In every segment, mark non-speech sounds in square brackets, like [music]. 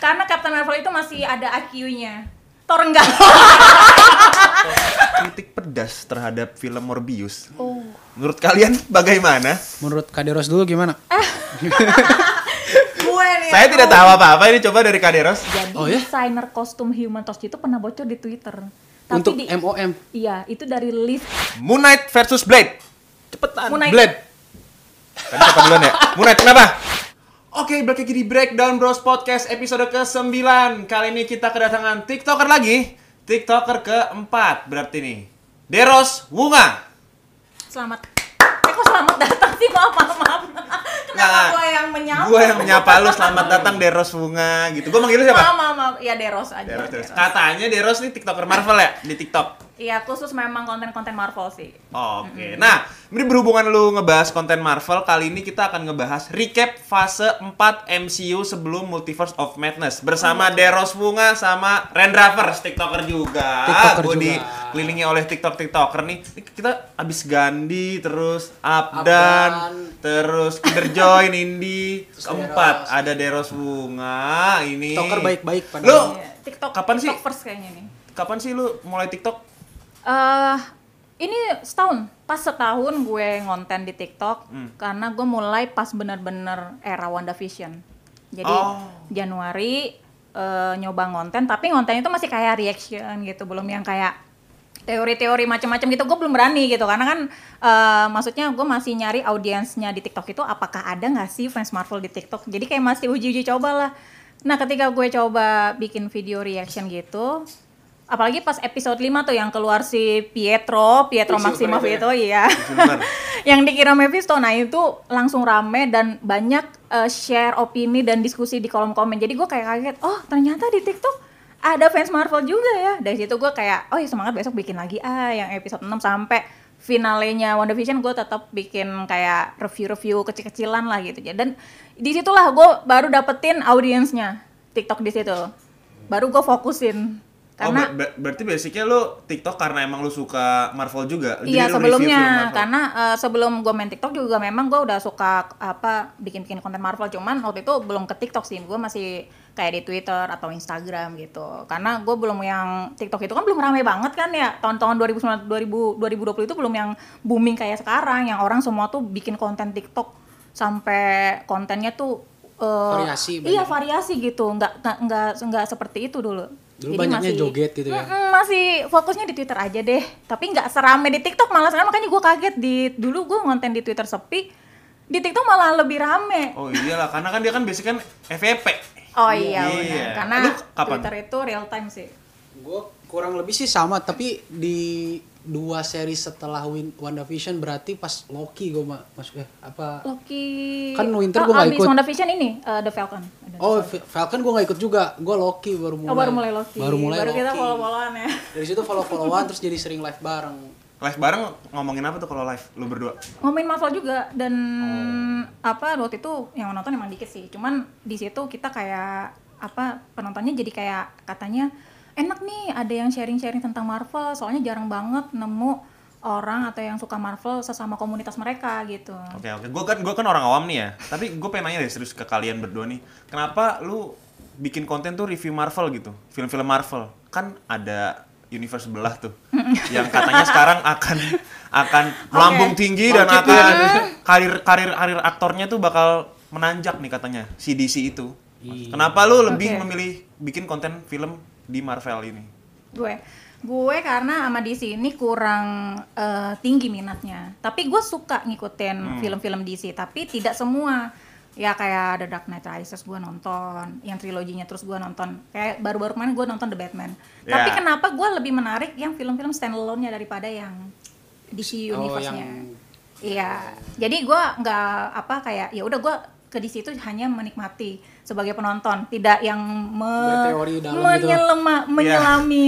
Karena Captain Marvel itu masih ada IQ-nya. Thor enggak. kritik pedas terhadap film Morbius. Oh. Menurut kalian bagaimana? Menurut Kaderos dulu gimana? Eh, Gue nih. Saya aduh. tidak tahu apa-apa ini coba dari Kaderos. Jadi Oh, ya? desainer kostum Human Torch itu pernah bocor di Twitter. Tapi Untuk di- MOM. Iya, itu dari list Moon Knight versus Blade. Cepetan. Moon Knight. Blade. Tadi siapa duluan ya? Moon Knight kenapa? Oke, balik lagi di Breakdown Bros Podcast episode ke-9 Kali ini kita kedatangan TikToker lagi TikToker keempat berarti nih Deros Wunga selamat. Eh kok selamat datang sih? Maaf, maaf, maaf. Kenapa Nah, gue yang menyapa? Gue yang menyapa lu, selamat datang Deros Wunga gitu Gue manggil lu Maaf, siapa? maaf, maaf. Ya Deros aja. Deros, Deros. Deros. Katanya Deros nih TikToker Marvel ya di TikTok Iya, khusus memang konten-konten Marvel sih. Oke, nah ini berhubungan lu ngebahas konten Marvel, kali ini kita akan ngebahas recap fase 4 MCU sebelum Multiverse of Madness bersama Deros Bunga sama Rendravers, TikToker juga. TikToker Gua juga. dikelilingi oleh TikTok-TikToker nih. Ini Kita abis Gandhi, terus Abdan. Abdan, terus Kinder Joy, Nindi, Terus keempat Deros. ada Deros Bunga ini. TikToker baik-baik padahal. Lu Oh. Iya, TikTok kapan sih? TikTokers kayaknya nih. kapan sih lu mulai TikTok? eh ini setahun, pas setahun gue ngonten di TikTok karena gue mulai pas bener-bener era WandaVision. Jadi Oh. Januari eh, nyoba ngonten, tapi ngonten itu masih kayak reaction gitu, belum yang kayak teori-teori macam-macam gitu. Gue belum berani gitu karena kan eh, maksudnya gue masih nyari audiensnya di TikTok itu apakah ada nggak sih fans Marvel di TikTok. Jadi kayak masih uji-uji coba lah. Nah ketika gue coba bikin video reaction gitu, apalagi pas episode 5 tuh yang keluar si Pietro, Pietro Maximoff itu iya. Silver. [laughs] [laughs] yang dikira Mephisto nah itu langsung rame dan banyak eh, share opini dan diskusi di kolom komen. Jadi gue kayak kaget, oh ternyata di TikTok ada fans Marvel juga ya. Dari situ gue kayak, oh ya semangat besok bikin lagi ah yang episode 6 sampai finalenya WandaVision gue tetap bikin kayak review-review kecil-kecilan lah gitu. Dan disitulah gue baru dapetin audiensnya TikTok di situ. Baru gue fokusin oh, karena ber- ber- berarti basicnya lu TikTok karena emang lu suka Marvel juga. Jadi kan Iya lu review film sebelumnya Marvel. karena eh, sebelum gue main TikTok juga memang gue udah suka apa bikin-bikin konten Marvel cuman waktu itu belum ke TikTok sih gue masih kayak di Twitter atau Instagram gitu karena gue belum yang TikTok itu kan belum ramai banget kan ya tahun-tahun 2019 2000 2020 itu belum yang booming kayak sekarang yang orang semua tuh bikin konten TikTok sampai kontennya tuh eh, Variasi iya banyak. variasi gitu nggak nggak nggak nggak seperti itu dulu Dulu banyaknya joget gitu ya? Mm, masih fokusnya di Twitter aja deh. Tapi nggak serame di TikTok malah sekarang makanya gue kaget di dulu gue ngonten di Twitter sepi, di TikTok malah lebih rame. Oh iyalah, karena kan dia kan basic kan FVP. Oh iya, Iya. benar. Karena Lu kapan? Twitter itu real time sih. Gue kurang lebih sih sama, tapi di dua seri setelah Win WandaVision berarti pas Loki gue ma masuk eh apa Loki Oh, Kan Winter gua nggak abis ikut. WandaVision ini eh, The Falcon. Ada. Oh, Fa- Falcon gue gak ikut juga. Gue Loki baru mulai. Oh, baru mulai Loki. Baru mulai Loki. kita follow-followan ya. Dari situ follow-followan terus jadi sering live bareng. Live bareng ngomongin apa tuh kalau live lu berdua? ngomongin Marvel juga dan apa waktu itu yang nonton emang dikit sih cuman di situ kita kayak apa penontonnya jadi kayak katanya enak nih ada yang sharing-sharing tentang Marvel soalnya jarang banget nemu orang atau yang suka Marvel sesama komunitas mereka gitu Oke oke, gue kan gua kan orang awam nih ya. Tapi gue pengen nanya deh serius ke kalian berdua nih, kenapa lu bikin konten tuh review Marvel gitu, film-film Marvel? Kan ada universe sebelah tuh, yang katanya sekarang akan akan melambung tinggi dan Bangkit akan karir karir karir aktornya tuh bakal menanjak nih katanya si DC itu. Iya. Kenapa lu lebih Oke. memilih bikin konten film di Marvel ini? gue gue karena sama DC ini kurang eh, tinggi minatnya tapi gue suka Hmm. ngikutin film-film DC tapi tidak semua ya kayak The Dark Knight Rises gue nonton yang triloginya terus gue nonton kayak baru-baru kemarin gue nonton The Batman tapi Ya. kenapa gue lebih menarik yang film-film standalone-nya daripada yang DC Oh, Universe-nya yang Iya, jadi gua nggak apa kayak ya udah gua ke di situ hanya menikmati sebagai penonton, tidak yang me- Berteori dalam gitu. menyelema- menyelami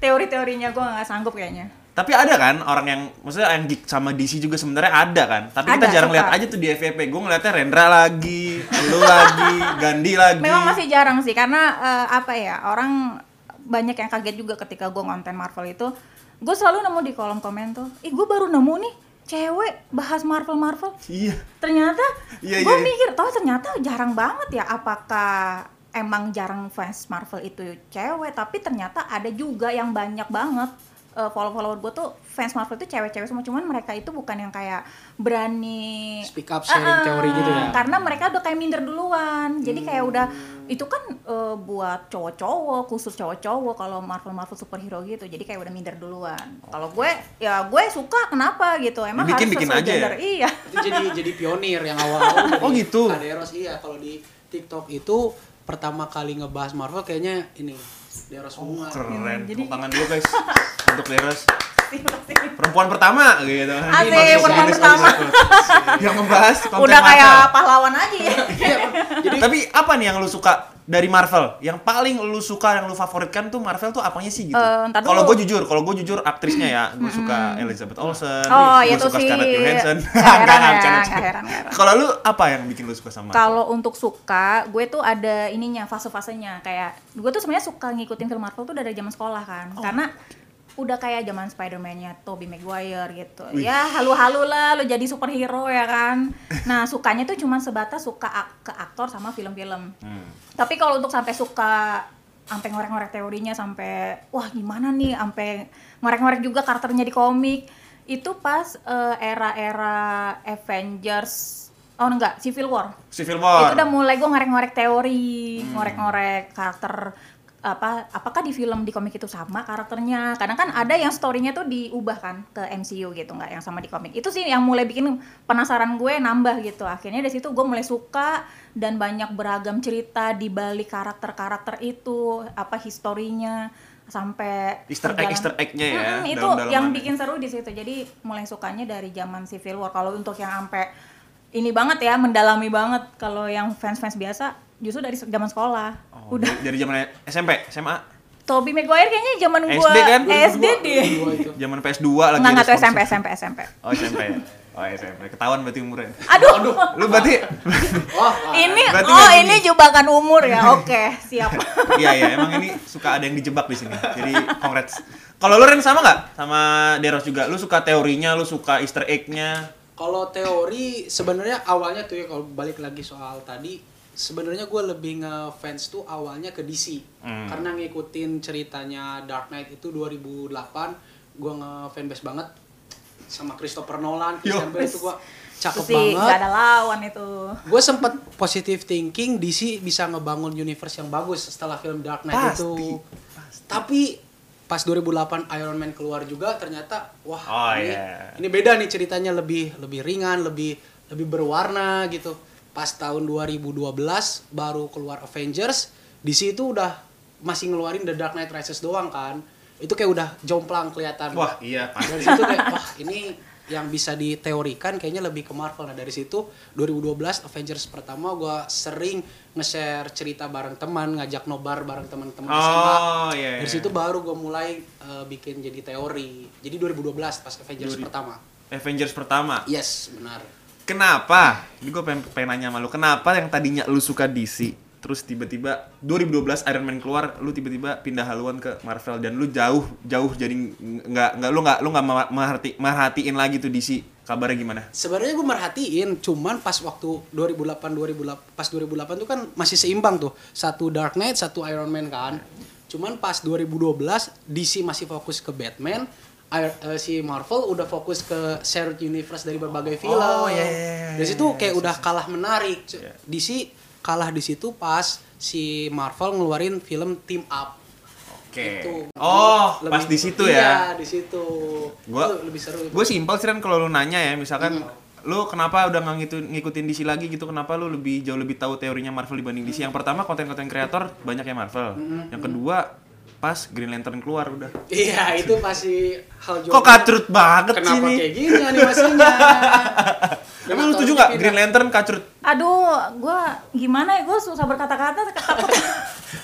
teori-teorinya gua nggak sanggup kayaknya. Tapi ada kan orang yang maksudnya yang geek sama DC juga sebenarnya ada kan. Tapi kita Ada, jarang suka. lihat aja tuh di FVP. Gue ngeliatnya Rendra lagi, lu [laughs] lagi, Gandhi lagi. Memang masih jarang sih karena eh, apa ya orang banyak yang kaget juga ketika gue ngonten Marvel itu. Gue selalu nemu di kolom komen tuh, ih gue baru nemu nih cewek bahas Marvel Marvel. Iya. Ternyata Iya, gue iya. mikir, tau ternyata jarang banget ya apakah emang jarang fans Marvel itu cewek tapi ternyata ada juga yang banyak banget eh, follow-follower gue tuh fans Marvel itu cewek-cewek semua cuman mereka itu bukan yang kayak berani Speak up sharing Ah, teori gitu ya. karena mereka udah kayak minder duluan jadi kayak Hmm. udah itu kan eh, buat cowok-cowok khusus cowok-cowok kalau Marvel Marvel superhero gitu jadi kayak udah minder duluan kalau gue ya gue suka kenapa gitu emang Dibikin- harus bikin sesuai aja ya? gender. iya itu jadi jadi pionir yang [laughs] awal Oh, gitu. ada Eros iya kalau di TikTok itu pertama kali ngebahas Marvel kayaknya ini Deros Oh, semua keren. Iya, Jadi- Tepuk tangan dulu guys untuk [laughs] Leros. Perempuan pertama gitu. Iya, Asik, Bagus, perempuan bagus, pertama. [laughs] bagus, bagus. yang membahas konten udah kayak Marvel. pahlawan aja ya Iya, jadi Tapi apa nih yang lu suka dari Marvel? Yang paling lu suka, yang lu favoritkan tuh Marvel tuh apanya sih gitu? Eh, ntar kalau dulu. gue jujur, kalau gue jujur aktrisnya ya, gue suka Elizabeth Olsen, Oh, gue itu suka sih. Scarlett Johansson. [laughs] Nggak heran ya, Nggak, nggak, bercanda, nggak bercanda. heran, nggak heran. Kalau lu apa yang bikin lu suka sama? Marvel? Kalau untuk suka, gue tuh ada ininya fase-fasenya kayak gue tuh sebenarnya suka ngikutin film Marvel tuh dari zaman sekolah kan. Oh. Karena udah kayak zaman Spider-Man-nya Tobey Maguire gitu. Wih. Ya halu-halu lah lo jadi superhero ya kan. Nah, sukanya tuh cuman sebatas suka ak- ke aktor sama film-film. Hmm. Tapi kalau untuk sampai suka sampai ngorek-ngorek teorinya sampai wah gimana nih sampai ngorek-ngorek juga karakternya di komik itu pas eh, era-era Avengers oh enggak Civil War Civil War. itu udah mulai gue ngorek-ngorek teori, ngorek-ngorek karakter apa apakah di film di komik itu sama karakternya kadang kan ada yang storynya tuh diubah kan ke MCU gitu nggak yang sama di komik itu sih yang mulai bikin penasaran gue nambah gitu akhirnya dari situ gue mulai suka dan banyak beragam cerita di balik karakter-karakter itu apa historinya sampai Easter egg, perjalanan- Easter egg-nya ya, Mm-mm, itu dalam-dalamannya. yang bikin seru di situ jadi mulai sukanya dari zaman Civil War kalau untuk yang sampai ini banget ya mendalami banget kalau yang fans-fans biasa justru dari zaman sekolah Oh, udah dari zaman SMP, SMA, Toby Maguire kayaknya zaman gua SD kan? SD deh Dua itu zaman PS2 lagi. nggak nggak tuh ada SMP sponsor. SMP SMP Oh SMP. ya? Oh SMP. Ketahuan berarti umurnya. aduh, [laughs] Lu berarti wah ah, ini Nah, Berarti oh nggak gini. ini jebakan umur [laughs] ya oke siap Iya iya emang ini suka ada yang dijebak di sini. Jadi congrats. Kalau lu Ren sama nggak? Sama Deros juga. Lu suka teorinya, lu suka Easter egg-nya. kalau teori sebenarnya awalnya tuh ya kalau balik lagi soal tadi sebenarnya gue lebih ngefans tuh awalnya ke DC Hmm. karena ngikutin ceritanya Dark Knight itu 2008 gue ngefanbase banget sama Christopher Nolan Christian Bale itu gue cakep sih banget nggak ada lawan itu gue sempet positive thinking DC bisa ngebangun universe yang bagus setelah film Dark Pasti, Knight itu tapi pas 2008 Iron Man keluar juga ternyata wah Oh, ini, iya. ini beda nih ceritanya lebih lebih ringan lebih lebih berwarna gitu pas tahun 2012 baru keluar Avengers DC itu udah masih ngeluarin The Dark Knight Rises doang kan itu kayak udah jomplang kelihatan Wah, iya pasti. dari situ kayak wah ini yang bisa diteorikan kayaknya lebih ke Marvel nah dari situ 2012 Avengers pertama gua sering nge-share cerita bareng teman ngajak nobar bareng teman-teman SMA Oh iya. dari iya. situ baru gua mulai eh, bikin jadi teori jadi 2012 pas Avengers Duri. pertama Avengers pertama. yes benar Kenapa? Ini gue pengen, pengen nanya sama lu. Kenapa yang tadinya lu suka DC, terus tiba-tiba 2012 Iron Man keluar, lu tiba-tiba pindah haluan ke Marvel dan lu jauh jauh jadi ng- nggak nggak lu nggak lu nggak ma- merhati, merhatiin lagi tuh DC. Kabarnya gimana? sebenarnya gue merhatiin cuman pas waktu 2008 2008 pas 2008 tuh kan masih seimbang tuh satu Dark Knight satu Iron Man kan cuman pas 2012 DC masih fokus ke Batman Ir- eh, si Marvel udah fokus ke shared universe dari berbagai film Oh, iya, iya, iya, dari situ kayak udah kalah menarik C- DC kalah di situ pas si Marvel ngeluarin film Team Up Oke. Gitu. Oh, Lebih- pas di situ ya. iya di situ Gua- Itu lebih seru Gue simpel sih kan kalau lu nanya ya, misalkan Hmm. lu kenapa udah nggak ngikutin, ngikutin DC lagi gitu? Kenapa lu lebih jauh lebih tahu teorinya Marvel dibanding DC? Yang pertama konten-konten kreator banyak ya Marvel. Hmm. Yang kedua pas Green Lantern keluar udah. Iya, itu pasti hal Kok kacut banget sih Kenapa ini? kayak gitu? gini animasinya? [laughs] Emang lu setuju nggak Green Lantern kacut? aduh gue gimana ya gue susah [laughs] berkata-kata takut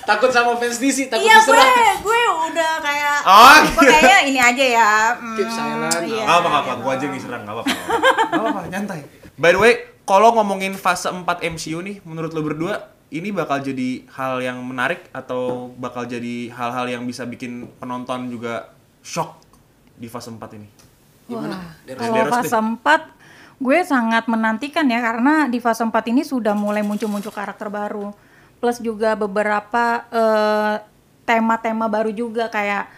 Takut sama fans DC, takut iya gue diserang. gue udah kayak Oh, gue kayaknya ini aja [laughs] ya Keep silent. iya, Gak apa apa, gitu. gua aja yang diserang, gak apa apa. Gak apa apa, nyantai. By the way, kalau ngomongin fase 4 MCU nih, menurut lo berdua ini bakal jadi hal yang menarik atau bakal jadi hal-hal yang bisa bikin penonton juga shock di fase 4 ini? Wah, Deros- kalau Deros fase 4 gue sangat menantikan ya karena di fase 4 ini sudah mulai muncul-muncul karakter baru. plus juga beberapa eh, tema-tema baru juga kayak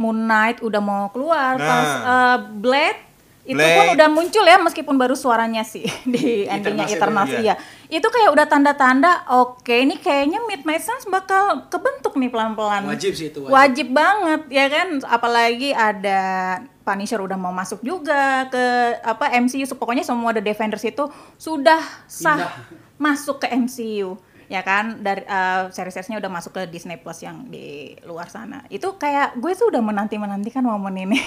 Moon Knight udah mau keluar, Nah. pas eh, Blade itu pun Blade. udah muncul ya meskipun baru suaranya sih [laughs] di endingnya Eternals Eternals itu, iya. Itu kayak udah tanda-tanda oke ini kayaknya Midnight Suns bakal kebentuk nih pelan-pelan. Wajib sih itu, Wajib. banget ya kan apalagi ada Punisher udah mau masuk juga ke apa MCU pokoknya semua The Defenders itu sudah sah Pindah. masuk ke MCU ya kan dari eh, series-seriesnya udah masuk ke Disney Plus yang di luar sana. Itu kayak gue tuh udah menanti-menantikan momen ini. [laughs]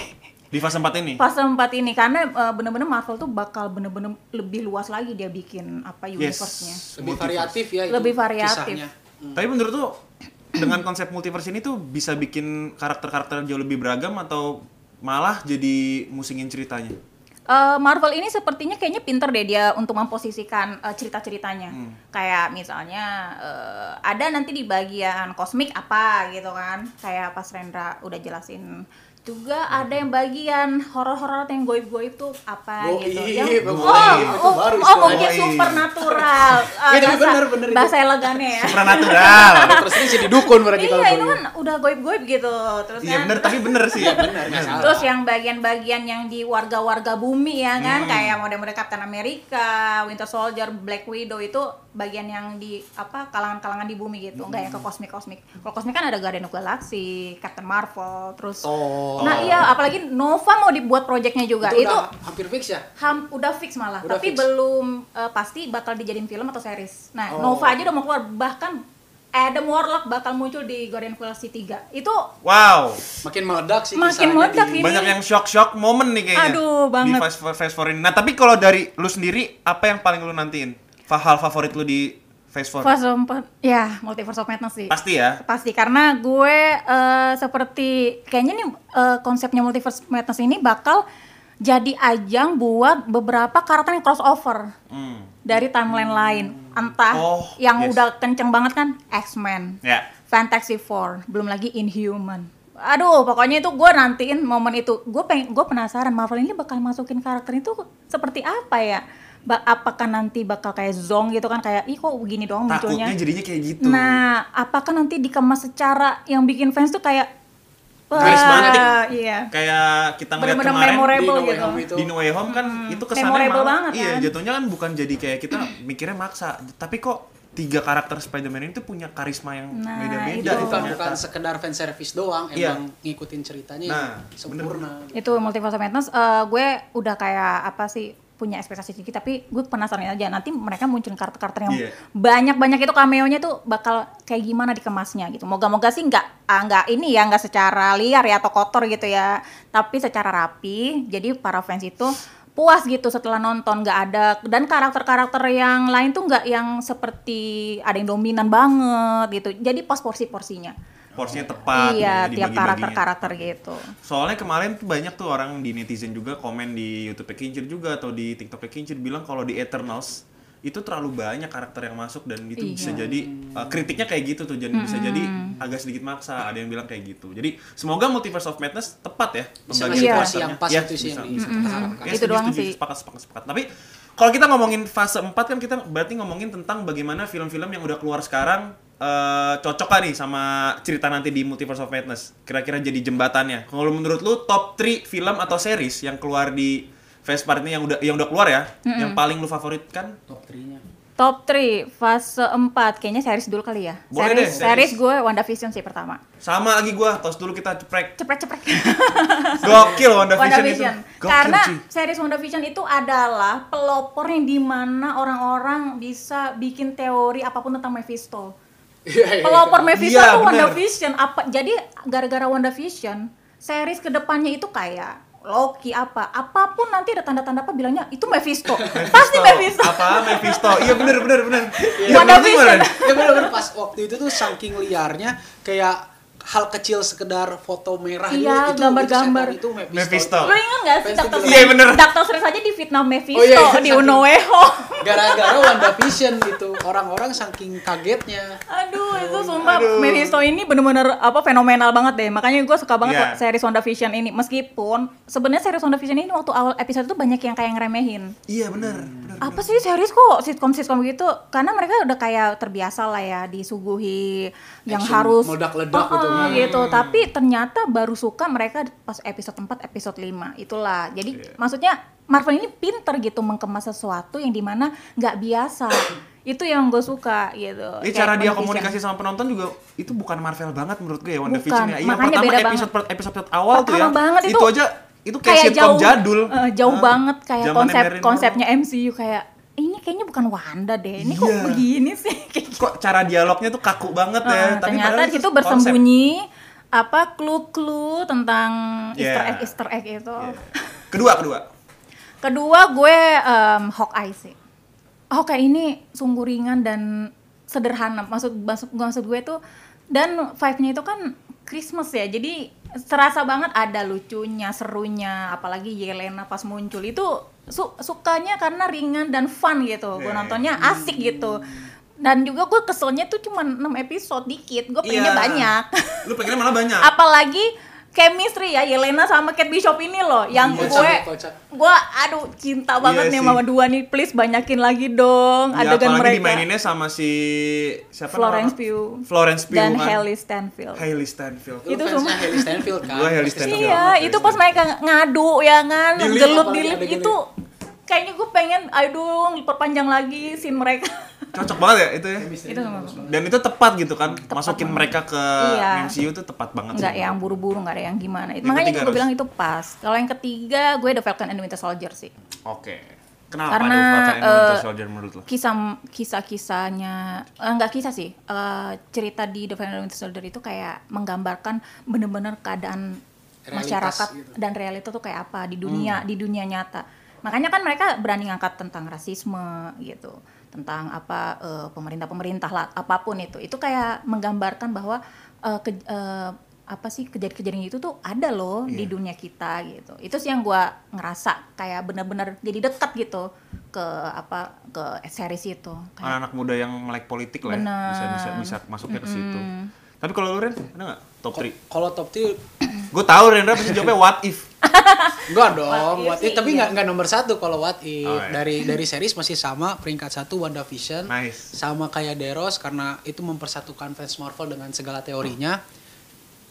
Di fase 4 ini. fase 4 ini karena eh, bener-bener Marvel tuh bakal bener-bener lebih luas lagi dia bikin apa Yes. universe-nya. lebih Multiverse. variatif ya itu Lebih variatif. kisahnya. Tapi menurut tuh dengan konsep multiverse ini tuh bisa bikin karakter-karakter jauh lebih beragam atau malah jadi musingin ceritanya. Eh, Marvel ini sepertinya kayaknya pinter deh dia untuk memposisikan eh, cerita-ceritanya. Hmm. Kayak misalnya eh, ada nanti di bagian kosmik apa gitu kan. Kayak pas Rendra udah jelasin juga ada yang bagian horor-horor atau yang goib-goib tuh apa Goib, iya, gitu ya. goib, Oh, itu oh, oh, baru istilahnya. mungkin Goib. supernatural. Eh, [laughs] Iya, bahasa, bener, bener itu. bahasa elegannya ya. Supernatural. [laughs] terus ini jadi dukun berarti kalau Iya, itu dulu. kan udah goib-goib gitu. Terus Iya kan- bener, tapi bener sih. Iya, bener, nggak salah. Terus yang bagian-bagian yang di warga-warga bumi ya kan, Hmm. kayak model-model Captain America, Winter Soldier, Black Widow itu bagian yang di apa kalangan-kalangan di bumi gitu, enggak yang Hmm. ke kosmik-kosmik. Kalau kosmik kan ada Guardian of Galaxy, Captain Marvel, terus Thor. Nah, iya apalagi Nova mau dibuat projectnya juga. Itu, Oh. udah hampir fix ya ham udah fix malah, Udah tapi fix. belum eh, pasti bakal dijadiin film atau series. Nah, Oh. Nova aja udah mau keluar bahkan Adam Warlock bakal muncul di Guardian of Galaxy 3. Itu Wow, makin meledak sih Makin kisahnya meledak di- ini. banyak yang shock-shock momen nih kayaknya. Aduh, banget. Di fast, fast forward ini. Nah, tapi kalau dari lu sendiri, apa yang paling lu nantiin? Fa- Hal favorit lu di fast forward? fase 4. Ya, Multiverse of Madness sih. Pasti ya. pasti karena gue eh, seperti kayaknya nih eh, konsepnya multiverse madness ini bakal jadi ajang buat beberapa karakter yang crossover Hmm. dari timeline lain entah Oh, yang yes. udah kenceng banget kan X-Men, Ya. Fantastic Four, belum lagi Inhuman. Aduh, pokoknya itu gue nantiin momen itu. Gue peng, gue penasaran Marvel ini bakal masukin karakter itu seperti apa ya? Ba- apakah nanti bakal kayak Zong gitu kan kayak ih kok begini doang munculnya? Takutnya jadinya kayak gitu. Nah, apakah nanti dikemas secara yang bikin fans tuh kayak wah, Karismatik. Iya. Kayak kita ngeliat Bener-bener kemarin di memorable No Way gitu. Home itu di No Way Home kan itu kesannya Memorable malah- banget, iya kan? jatuhnya kan bukan jadi kayak kita mikirnya maksa tapi kok tiga karakter Spider-Man ini tuh punya karisma yang Nah, beda-beda gitu kan. itu. jadi bukan, Iya, ternyata. bukan sekedar fan service doang Iya. emang ngikutin ceritanya Nah, yang sempurna Itu Multiverse of Madness eh, gue udah kayak apa sih punya ekspektasi sedikit tapi gue penasaran aja nanti mereka munculin karakter-karakter yang Iya. banyak-banyak itu cameo-nya tuh bakal kayak gimana dikemasnya gitu. Moga-moga sih nggak ah, nggak ini ya nggak secara liar ya atau kotor gitu ya, tapi secara rapi. Jadi para fans itu puas gitu setelah nonton nggak ada dan karakter-karakter yang lain tuh nggak yang seperti ada yang dominan banget gitu. Jadi pas porsi-porsinya. porsinya iya, tepat gitu, tiap dibagi-baginya. karakter-karakter gitu. soalnya kemarin tuh banyak tuh orang di netizen juga komen di YouTube Kincir juga atau di TikTok Kincir bilang kalau di Eternals itu terlalu banyak karakter yang masuk dan itu bisa jadi uh, kritiknya kayak gitu tuh jadi bisa jadi agak sedikit maksa ada yang bilang kayak gitu jadi semoga Multiverse of Madness tepat ya Bisa pembagian ngasih porsi karakternya. yang pas Ya, itu sih bisa, yang di- bisa. Mhm. Ya, Itu setuju, doang setuju. sih. Sepakat, sepakat, sepakat. Tapi kalau kita ngomongin fase 4 kan kita berarti ngomongin tentang bagaimana film-film yang udah keluar sekarang eh cocok kan nih sama cerita nanti di Multiverse of Madness. Kira-kira jadi jembatannya. Kalau menurut lu top 3 film atau series yang keluar di Fast Part ini yang udah yang udah keluar ya, yang paling lu favoritkan? top 3 nya Top 3, fase 4, kayaknya series dulu kali ya. Boleh series, deh, series. series gue WandaVision sih pertama. Sama lagi gua, tos dulu kita ceprek. Ceprek-ceprek. [laughs] Gokil WandaVision, WandaVision. itu. Gokil, Karena cuy. series WandaVision itu adalah pelopor yang dimana orang-orang bisa bikin teori apapun tentang Mephisto. Pelopor Mephisto [laughs] Iya, tuh bener. WandaVision. Apa, jadi gara-gara WandaVision, series kedepannya itu kayak Loki apa, apapun nanti ada tanda-tanda apa bilangnya itu Mephisto. [laughs] Pasti Mephisto. Apa Mephisto? Iya bener bener bener. Iya, WandaVision. bener, bener. ya bener-bener pas waktu itu tuh saking liarnya kayak hal kecil sekedar foto merah dulu, Iya, itu gambar-gambar. setan, itu Mephisto. Mephisto. Lo ingat gak sih Fans Dr. itu- Strange? Iya, bener. Dr. Strange aja di Vietnam Mephisto Oh, iya, iya, di saking- Unoweho. gara-gara WandaVision gitu orang-orang saking kagetnya [laughs] Aduh, itu sumpah Mephisto ini bener-bener apa fenomenal banget deh. Makanya gue suka banget Iya. series WandaVision ini. Meskipun sebenarnya series WandaVision ini waktu awal episode tuh banyak yang kayak ngeremehin. Iya benar. benar. apa sih series kok sitkom-sitkom gitu karena mereka udah kayak terbiasa lah ya disuguhi yang Action harus meledak-ledak Oh, oh, gitu. kan. gitu. tapi ternyata baru suka mereka pas episode 4 episode 5 itulah jadi Iya. maksudnya Marvel ini pinter gitu mengemas sesuatu yang dimana nggak biasa itu yang gue suka gitu Ini Kayak cara dia WandaVision. komunikasi sama penonton juga itu bukan Marvel banget menurut gue ya Bukan, WandaVision ya. Iya, makanya pertama beda episode episode awal tuh ya. Pertama banget itu aja itu kayak, sitcom jadul. eh, jauh Ah, banget kayak zamannya konsep Marilyn konsepnya MCU kayak "Eh, ini kayaknya bukan Wanda deh ini kok Iya. begini sih [laughs] kayak Monroe. Kok cara dialognya tuh kaku banget ya. Heeh, tapi Eh, ternyata padahal di situ konsep. bersembunyi apa clue-clue tentang Easter Yeah. egg Easter egg itu. Iya. Kedua, kedua. Oh, Kedua gue em, Hawkeye sih. Hawkeye ini sungguh ringan dan sederhana. Maksud maksud, maksud gue tuh dan vibe-nya itu kan Christmas ya. Jadi terasa banget ada lucunya, serunya, apalagi Yelena pas muncul itu su- sukanya karena ringan dan fun gitu. Gue Yeah. nontonnya asik gitu. Dan juga gue keselnya tuh cuma 6 episode dikit. Gue Iya. pengennya banyak. Lu pengennya malah banyak. apalagi chemistry ya Yelena sama Kate Bishop ini loh yang Kocak, gue kocak. gue aduh cinta banget Iya nih sih. sama dua nih please banyakin lagi dong Ya, adegan apalagi mereka dimaininnya sama si siapa Florence Pugh namanya? Florence Pugh dan kan. Haley Stanfield Hailey Stanfield. Itu Lu fansnya semua. Haley Steinfeld kan Gua Haley Pasti Steinfeld. iya Iya, itu pas mereka ngadu ya kan Di lip, gelut apalagi di lip adegan itu kayaknya gue pengen aduh perpanjang lagi scene mereka Cocok banget ya itu ya. itu sama Dan itu tepat gitu kan. Masukin mereka ke Iya. ya. MCU tuh tepat banget. nggak sih. yang buru-buru nggak ada yang gimana Yang makanya ketiga gue harus. bilang itu pas kalau yang ketiga gue The Falcon and the Winter Soldier sih Oke. Kenapa Karena, ada Falcon and eh, Winter Soldier menurut lo? kisah kisah kisahnya eh, nggak kisah sih eh, cerita di The Final Winter Soldier itu kayak menggambarkan bener-bener keadaan Realitas masyarakat gitu. Hmm. dan realita tuh kayak apa di dunia di dunia nyata makanya kan mereka berani ngangkat tentang rasisme gitu tentang apa eh, pemerintah-pemerintah lah apapun itu itu kayak menggambarkan bahwa eh, ke- eh, apa sih kejadian-kejadian itu tuh ada loh di Iya. dunia kita gitu itu sih yang gua ngerasa kayak bener-bener jadi dekat gitu ke apa ke series itu kayak anak-anak muda yang melek politik lah ya. Bener. bisa bisa bisa masuknya ke situ tapi kalau lu Ren ada nggak top 3? kalau top 3 gue tahu Rendra pasti jawabnya what if Enggak dong, What if what if, sih, tapi iya. nggak nggak nomor satu kalau what if Oh, iya. Nah, dari dari series masih sama peringkat satu WandaVision Nice. sama kayak Deros karena itu mempersatukan fans Marvel dengan segala teorinya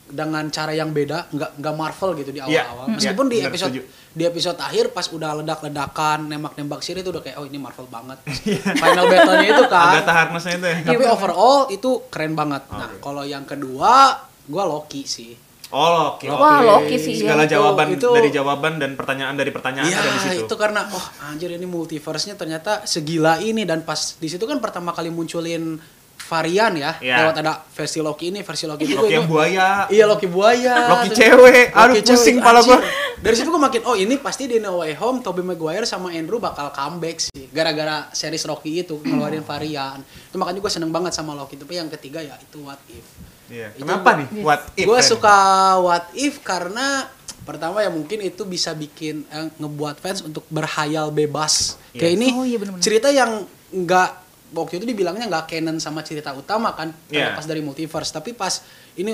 dengan cara yang beda nggak nggak Marvel gitu di Iya, awal-awal mm. meskipun iya, di benar, episode setuju. di episode akhir pas udah ledak-ledakan nembak-nembak sini itu udah kayak oh ini Marvel [laughs] banget Iya. final battle-nya itu kan Agatha Harkness-nya itu ya tapi overall itu keren banget nah kalau yang kedua gua Loki sih oh oke Wah, oke. Loki sih, iya. segala Itu- jawaban itu- dari jawaban dan pertanyaan dari pertanyaan Iya ada di situ itu karena oh anjir ini multiverse-nya ternyata segila ini dan pas di situ kan pertama kali munculin varian ya Iya. Eh, lewat ada versi Loki ini versi Loki itu Loki yang itu- buaya iya Loki buaya Loki Terus- cewek aduh Loki cewek, pusing kepala anjir. gue dari situ gue makin oh ini pasti di No Way Home Tobey Maguire sama Andrew bakal comeback sih gara-gara series Rocky itu ngeluarin varian itu makanya gue seneng banget sama Loki tapi yang ketiga ya itu What If Iya. Itu kenapa gua- nih what if kan? gue Ren? suka what if karena pertama ya mungkin itu bisa bikin eh, ngebuat fans untuk berhayal bebas kayak Yes. ini Oh, iya bener-bener. cerita yang nggak waktu itu dibilangnya nggak canon sama cerita utama kan Iya. karena pas dari multiverse tapi pas ini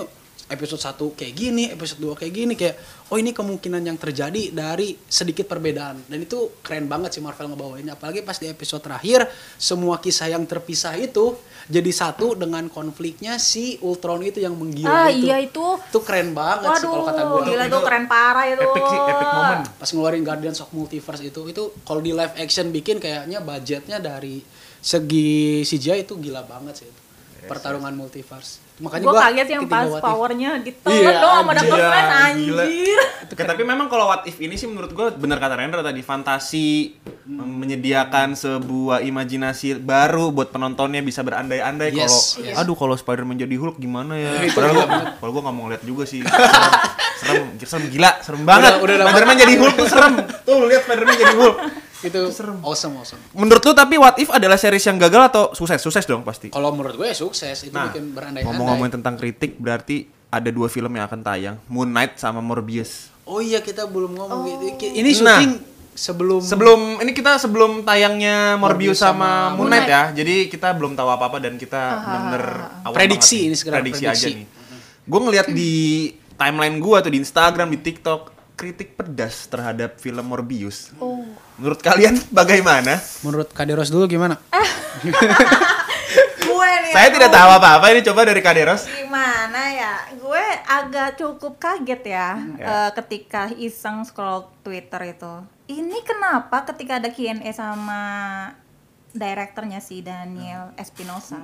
episode 1 kayak gini episode 2 kayak gini kayak oh ini kemungkinan yang terjadi dari sedikit perbedaan dan itu keren banget sih Marvel ngebawainnya apalagi pas di episode terakhir semua kisah yang terpisah itu jadi satu dengan konfliknya si Ultron itu yang ah menggila itu. iya itu Itu keren banget sih kalau kata waduh gue. gila itu keren parah itu epic sih epic moment Pas ngeluarin Guardians of Multiverse itu itu kalau di live action bikin kayaknya budgetnya dari segi CGI itu gila banget sih itu. Pertarungan multiverse. Makanya gue gua kaget yang ketiga pas what if. powernya Iya, ditelan dong Oh, sama Dr. Iya, Strange gila. anjir Oke, tapi memang kalau what if ini sih menurut gue benar kata Rendra tadi fantasi mem- Hmm. menyediakan sebuah imajinasi baru buat penontonnya bisa berandai-andai Yes, kalau yes. Gitu. Iya. aduh kalau Spider-Man jadi Hulk gimana ya? Itu Padahal gila gua- kalau gue nggak mau ngeliat juga sih. serem, serem gila, serem banget. udah dapat. Spider-Man jadi Hulk tuh serem. Tuh lu lihat Spider-Man jadi Hulk. Itu awesome awesome. Menurut lu tapi What If adalah series yang gagal atau sukses? Sukses dong pasti. Nah, Kalau menurut gue ya sukses itu bikin berandai-andai. ngomong-ngomongin tentang kritik berarti ada dua film yang akan tayang, Moon Knight sama Morbius. Oh iya kita belum ngomong gitu. Oh. Ini syuting sebelum Sebelum ini kita sebelum tayangnya Morbius, Morbius sama, sama Moon Knight ya. Jadi kita belum tahu apa-apa dan kita bener-bener awam Prediksi banget nih. ini sekarang, prediksi, prediksi. aja nih. Gue ngeliat di timeline gue tuh di Instagram, di TikTok kritik pedas terhadap film Morbius. Oh. Menurut kalian [laughs] bagaimana? menurut Kaderos dulu gimana? Eh, gue nih Saya tidak aduh, tahu apa-apa ini coba dari Kaderos. gimana ya gue agak cukup kaget ya Hmm, eh, ketika iseng scroll Twitter itu ini kenapa ketika ada Q&A sama direkturnya si Daniel Hmm. Espinosa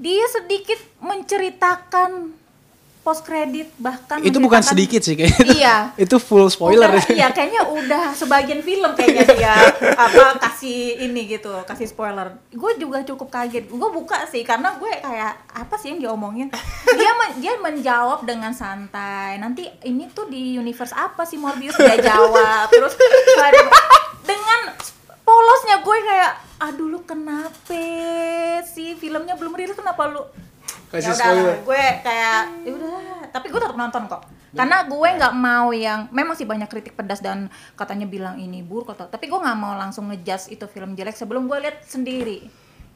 dia sedikit menceritakan post kredit bahkan itu bukan menceritakan- sedikit sih kayaknya. Iya. [laughs] itu full spoiler. Udah, iya kayaknya udah sebagian film kayaknya dia apa kasih ini gitu kasih spoiler gue juga cukup kaget gue buka sih karena gue kayak apa sih yang diomongin dia men- dia menjawab dengan santai nanti ini tuh di universe apa sih Morbius dia jawab terus kayak- dengan polosnya gue kayak aduh lu kenapa sih filmnya belum rilis kenapa lu Kasih ya spoiler. udah gue kayak ya udah tapi gue tetap nonton kok karena gue nggak mau yang memang sih banyak kritik pedas dan katanya bilang ini buruk atau tapi gue nggak mau langsung ngejudge itu film jelek sebelum gue lihat sendiri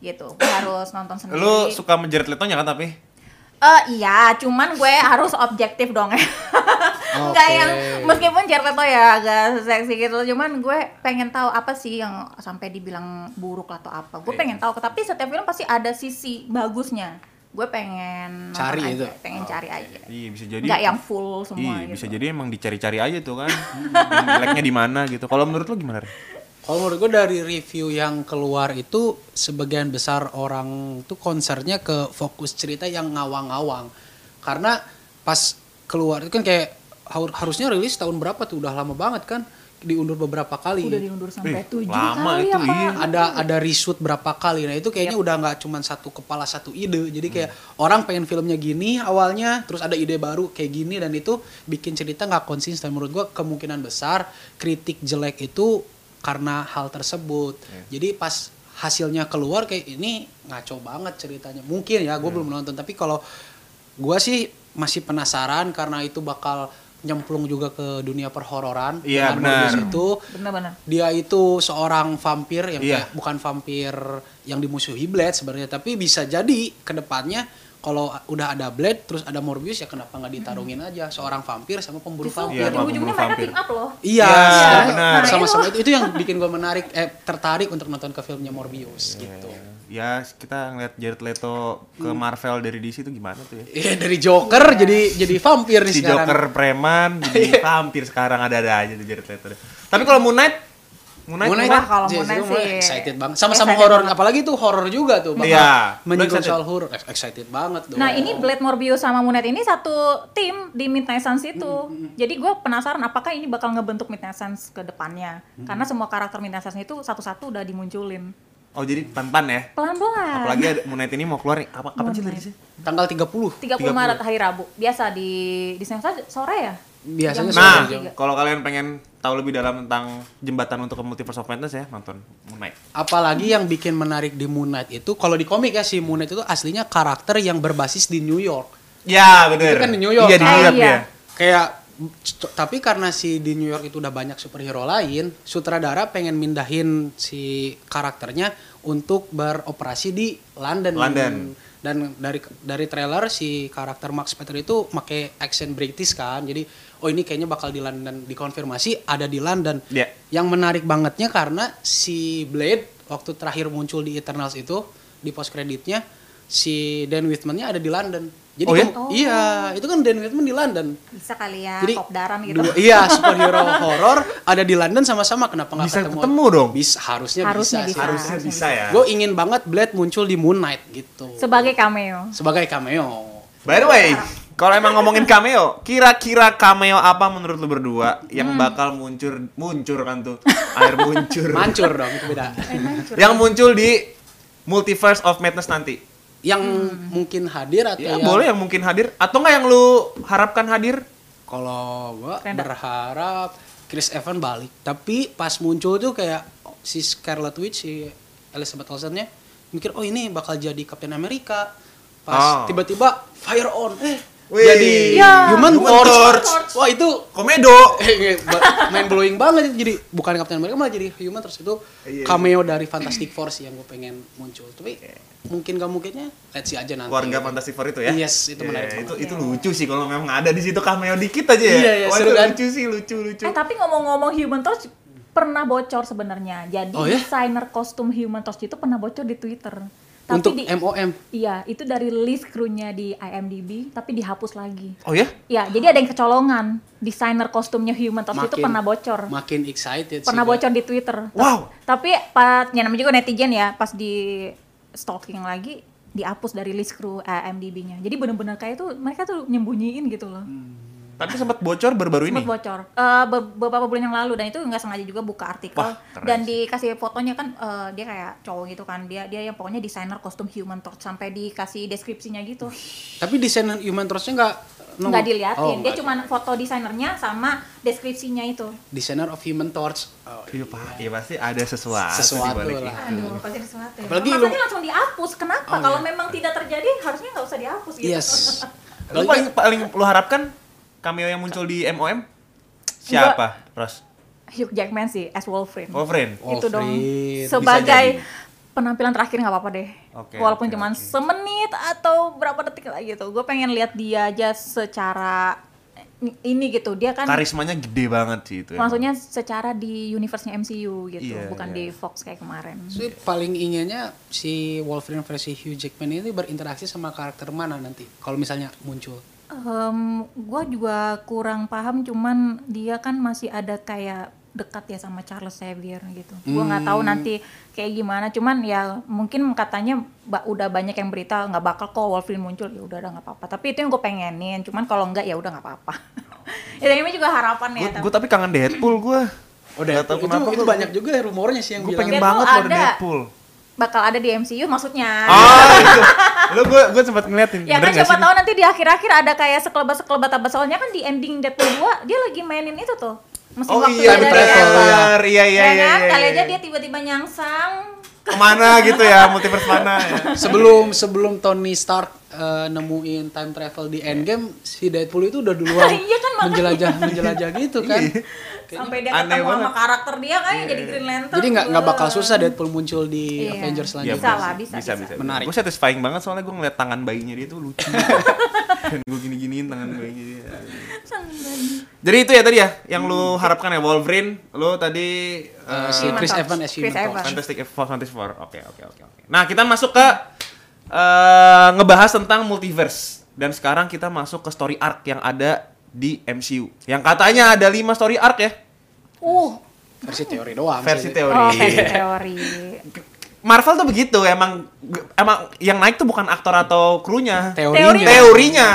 gitu gue harus nonton sendiri Lu suka menjerit letonya kan tapi? Eh, iya, cuman gue harus objektif dong [laughs] ya. Enggak Oke. yang meskipun Jared Leto ya agak seksi gitu, cuman gue pengen tahu apa sih yang sampai dibilang buruk atau apa. Iya. Gue pengen tahu, tapi setiap film pasti ada sisi bagusnya. Gue pengen nonton Cari aja, itu. pengen cari aja. Iya bisa jadi. Enggak yang full semua Iya, gitu. bisa jadi emang dicari-cari aja tuh kan. Yang Jeleknya di mana gitu. Kalau menurut lu gimana? Re? Kalau menurut gue dari review yang keluar itu sebagian besar orang tuh konsernya ke fokus cerita yang ngawang-ngawang. Karena pas keluar itu kan kayak har- harusnya rilis tahun berapa tuh udah lama banget kan diundur beberapa kali. Udah diundur sampai Ih, tujuh lama kali ya, itu, apa? iya. ada ada reshoot berapa kali nah itu kayaknya udah nggak cuman satu kepala satu ide jadi kayak orang pengen filmnya gini awalnya terus ada ide baru kayak gini dan itu bikin cerita nggak konsisten menurut gua kemungkinan besar kritik jelek itu karena hal tersebut Iya. jadi pas hasilnya keluar kayak ini ngaco banget ceritanya mungkin ya Iya. gue belum nonton tapi kalau gua sih masih penasaran karena itu bakal nyemplung juga ke dunia perhororan Iya, dengan benar. modus itu Benar-benar. dia itu seorang vampir yang Iya. kayak- bukan vampir yang dimusuhi Blade sebenarnya tapi bisa jadi kedepannya kalau udah ada Blade terus ada Morbius ya kenapa nggak ditarungin aja seorang vampir sama pemburu Justru vampir Iya, di mampu ujungnya mereka vampir. team up loh. iya Iya, sebenarnya benar. sama-sama itu itu yang bikin gue menarik eh tertarik untuk nonton ke filmnya Iya, Morbius gitu Ya kita ngeliat Jared Leto ke Hmm. Marvel dari DC itu gimana tuh ya? Iya dari Joker jadi jadi vampir nih Si sekarang Iya. Joker [laughs] preman, jadi vampir sekarang ada-ada aja tuh Jared Leto. Tapi kalau Moon Knight, Moon Knight, Moon Knight, Wah, kalau Jason Moon Knight Momoa sih excited banget sama-sama excited horor banget. apalagi tuh horor juga tuh bakal Iya. Lu menyinggung excited? soal horor Eh, excited banget dong Nah ini Blade Morbius sama Moon Knight ini satu tim di Midnight Suns itu. Hmm, Jadi gue penasaran apakah ini bakal ngebentuk Midnight Suns ke depannya. Hmm. Karena semua karakter Midnight Suns itu satu-satu udah dimunculin. oh jadi pelan-pelan ya. Pelan-pelan. Apalagi ada- Moon Knight ini mau keluar nih. Apa kapan sih rilisnya? tanggal 30 30, Maret hari Rabu. Biasa di di Senensa sore ya? Biasanya Jam Nah, tiga. kalau kalian pengen tahu lebih dalam tentang jembatan untuk ke Multiverse of Madness ya, nonton Moon Knight. Apalagi yang bikin menarik di Moon Knight itu, kalau di komik ya si Moon Knight itu aslinya karakter yang berbasis di New York. Ya, bener. Itu kan di New York. Iya, di Ah, New York iya. dia. Kayak c- tapi karena si di New York itu udah banyak superhero lain, sutradara pengen mindahin si karakternya untuk beroperasi di London. London. Dan dari dari trailer si karakter Max Peter itu make accent British kan. Jadi oh ini kayaknya bakal di London dikonfirmasi ada di London. Iya. Yang menarik bangetnya karena si Blade waktu terakhir muncul di Eternals itu di post kreditnya si Dan Whitman-nya ada di London. Jadi Oh ya? kem- iya, itu kan Dan Whitman di London. Bisa kali ya, Jadi Jadi, kopdaran gitu. dua- iya, superhero horor ada di London sama-sama kenapa nggak Bisa ketemu? ketemu dong. Bisa harusnya, Harusnya bisa. bisa. Harusnya bisa ya. Gue ingin banget Blade muncul di Moon Knight gitu. Sebagai cameo. Sebagai cameo. By the way, kalau emang ngomongin cameo, kira-kira cameo apa menurut lu berdua yang Hmm. bakal muncul muncul kan tuh air muncul [laughs] Mancur dong itu [laughs] beda. Iya. yang muncul di Multiverse of Madness nanti. yang mungkin hadir atau Ya, yang- boleh yang mungkin hadir atau nggak yang lu harapkan hadir? Kalau gua Renda. berharap Chris Evans balik, tapi pas muncul tuh kayak si Scarlet Witch si Elizabeth Olsennya mikir oh ini bakal jadi Captain America. Oh. Pas tiba-tiba fire on, eh Wih. jadi Ya. Human Human Torch. Torch. Wah itu [laughs] eh, Komedo. main blowing banget itu jadi bukan Captain America malah jadi Human terus itu Iya, iya. cameo dari Fantastic Four sih yang gue pengen muncul tapi mungkin gak mungkinnya let's see aja nanti Keluarga Fantastic Four itu ya? Yes, itu menarik Iya, banget. Itu, itu lucu sih kalau memang ada di situ cameo dikit aja ya. Iya, iya, Wah, itu seru kan? lucu sih, lucu, lucu. Eh tapi ngomong-ngomong Human Torch pernah bocor sebenarnya. Jadi Oh, ya? desainer kostum Human Torch itu pernah bocor di Twitter. Tapi untuk di, MOM Iya, itu dari list krunya di IMDb, tapi dihapus lagi. Oh ya? Ya, jadi ada yang kecolongan. Desainer kostumnya Human Torch itu Makin- pernah bocor. makin excited sih pernah gua. bocor di Twitter. Ta- Wow. Tapi pas ya namanya juga netizen ya, pas di stalking lagi dihapus dari list kru IMDb-nya. Jadi bener-bener kayak itu mereka tuh nyembunyiin gitu loh. Hmm. Tapi sempat bocor baru-baru ini. Sempat bocor Eh, be- beberapa bulan yang lalu dan itu nggak sengaja juga buka artikel Wah, keren dan sih. dikasih fotonya kan eh, dia kayak cowok gitu kan dia dia yang pokoknya desainer kostum human torch sampai dikasih deskripsinya gitu tapi desain Human Torchnya nggak nongol? nggak diliatin Oh, dia nggak. Hmm. cuma foto desainernya sama deskripsinya itu desainer of Human Torch Oh, Iya, Pak. Iya, pasti ada sesuatu, di Sesuatu balik lah. itu. aduh pasti ada sesuatu ya. Apalagi Makanya lu- langsung dihapus kenapa Oh, kalau iya. memang tidak terjadi harusnya nggak usah dihapus gitu [laughs] yes Lu Apalagi paling paling lu harapkan cameo yang muncul di MOM siapa? Ros. Oh, Hugh Jackman sih as Wolverine Wolverine. itu dong Wolverine. sebagai Bisa penampilan terakhir nggak apa-apa deh Oke, walaupun oke, cuma oke. semenit atau berapa detik lagi gitu gue pengen lihat dia aja secara ini gitu dia kan Karismanya gede banget sih itu. emang. maksudnya secara di universe-nya MCU gitu Iya, bukan iya. di Fox kayak kemarin Jadi paling inginnya si Wolverine versi Hugh Jackman ini berinteraksi sama karakter mana nanti kalau misalnya muncul. gue juga kurang paham cuman dia kan masih ada kayak dekat ya sama Charles Xavier gitu gue nggak tahu Hmm. nanti kayak gimana cuman ya mungkin katanya ba- udah banyak yang berita nggak bakal kok Wolverine muncul ya udah udah nggak apa-apa tapi itu yang gue pengenin cuman kalau nggak ya udah nggak apa-apa [laughs] ya tapi ini juga harapan ya Gue tapi kangen Deadpool gue. Nggak tahu Oh, itu, kenapa itu gua- banyak juga ya rumornya sih yang Gue bilang. pengen Deadpool banget lo ada ada. Deadpool. bakal ada di MCU maksudnya Oh, itu. Lu gue gue sempat ngeliatin. Ya kan Bener nggak siapa sih? tahu nanti di akhir-akhir ada kayak sekelebat-sekelebat apa soalnya kan di ending Deadpool 2 dia lagi mainin itu tuh. Mesin Oh waktu iya, dari bener. Apple. Iya ya iya iya. kan? iya, Kali iya. aja dia tiba-tiba nyangsang. kemana gitu ya, multiverse mana [laughs] ya. Sebelum sebelum Tony Stark eh, nemuin time travel di Endgame, si Deadpool itu udah [laughs] Iya duluan kan, makanya. menjelajah menjelajah gitu kan. Iya. Sampai dia aneh ketemu sama banget. Iya, karakter dia kan yang jadi Green Lantern. Jadi nggak nggak bakal Wah. susah Deadpool muncul di Iya. Avengers Iya, Bisa selanjutnya. lah, bisa, bisa. Menarik. Gue satisfying banget soalnya gue ngeliat tangan bayinya dia tuh [laughs] lucu. Dan gue gini-giniin tangan bayinya dia. Jadi itu ya tadi ya, yang lu harapkan ya Wolverine, lu tadi Eh, eh, si Human Chris Torch. Evans as Chris Human Torch. Evans. Fantastic Four, Fantastic Four. Oke, oke, oke, oke. Nah, kita masuk ke eh, ngebahas tentang multiverse. Dan sekarang kita masuk ke story arc yang ada di MCU. Yang katanya ada 5 story arc ya, Uh, Versi teori doang. versi sih. teori. oh, versi teori. Marvel tuh begitu, emang emang yang naik tuh bukan aktor atau krunya. Teorinya. [laughs] Teorinya.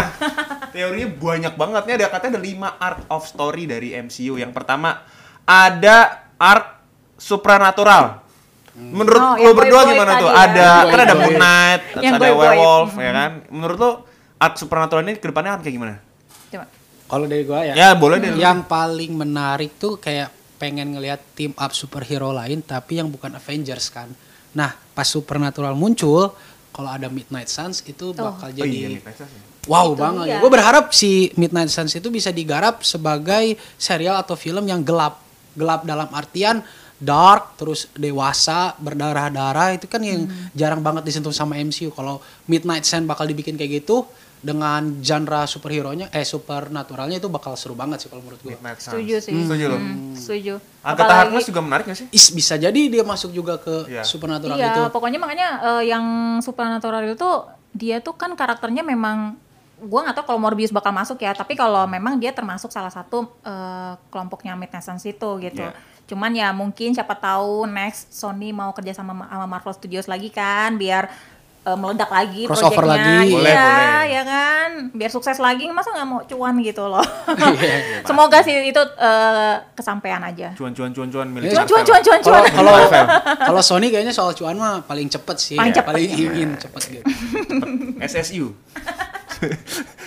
Teorinya banyak banget nih ada katanya ada 5 arc of story dari MCU. Yang pertama ada arc supranatural. Hmm. Menurut Oh, lo yang berdua boy-boy gimana tadi tuh? ya. Ada Yang kan ada boy-boy. Moon Knight, Yang ada boy-boy. Hmm. werewolf ya kan. Menurut lo arc supranatural ini kedepannya akan kayak gimana? Coba. Kalau dari gua ya. Ya boleh deh. Yang paling menarik tuh kayak pengen ngelihat team up superhero lain tapi yang bukan Avengers kan. Nah, pas Supernatural muncul, kalau ada Midnight Suns itu bakal Oh, iya, jadi nih, Kaisas ya. wow Itu banget. dia. Gue berharap si Midnight Suns itu bisa digarap sebagai serial atau film yang gelap. Gelap dalam artian dark terus dewasa berdarah-darah itu kan yang Hmm. jarang banget disentuh sama MCU. Kalau Midnight Suns bakal dibikin kayak gitu dengan genre superhero-nya eh supernaturalnya itu bakal seru banget sih kalau menurut Iya. gue. Midnight Suns. Setuju sih. Nah. Setuju lo. Hmm, setuju. Agatha Apalagi- Harkness juga menarik gak sih? Is bisa jadi dia masuk juga ke Iya. supernatural gitu. Iya, itu. pokoknya makanya eh, yang supernatural itu dia tuh kan karakternya memang gua nggak tahu kalau Morbius bakal masuk ya, tapi kalau memang dia termasuk salah satu eh, kelompoknya Midnight Suns itu gitu. Iya. Cuman ya mungkin siapa tahu next Sony mau kerja sama sama Marvel Studios lagi kan biar eh, meledak lagi Crossover proyeknya. lagi. Boleh, Iya, boleh. ya kan? Biar sukses lagi masa nggak mau cuan gitu loh. Semoga sih itu eh, kesampaian aja. Cuan cuan cuan cuan milik Cuan cuan Marvel. cuan cuan cuan. Kalau kalau kalau Sony kayaknya soal cuan mah paling cepet sih. Paling cepet. ingin cepet gitu. SSU. [laughs]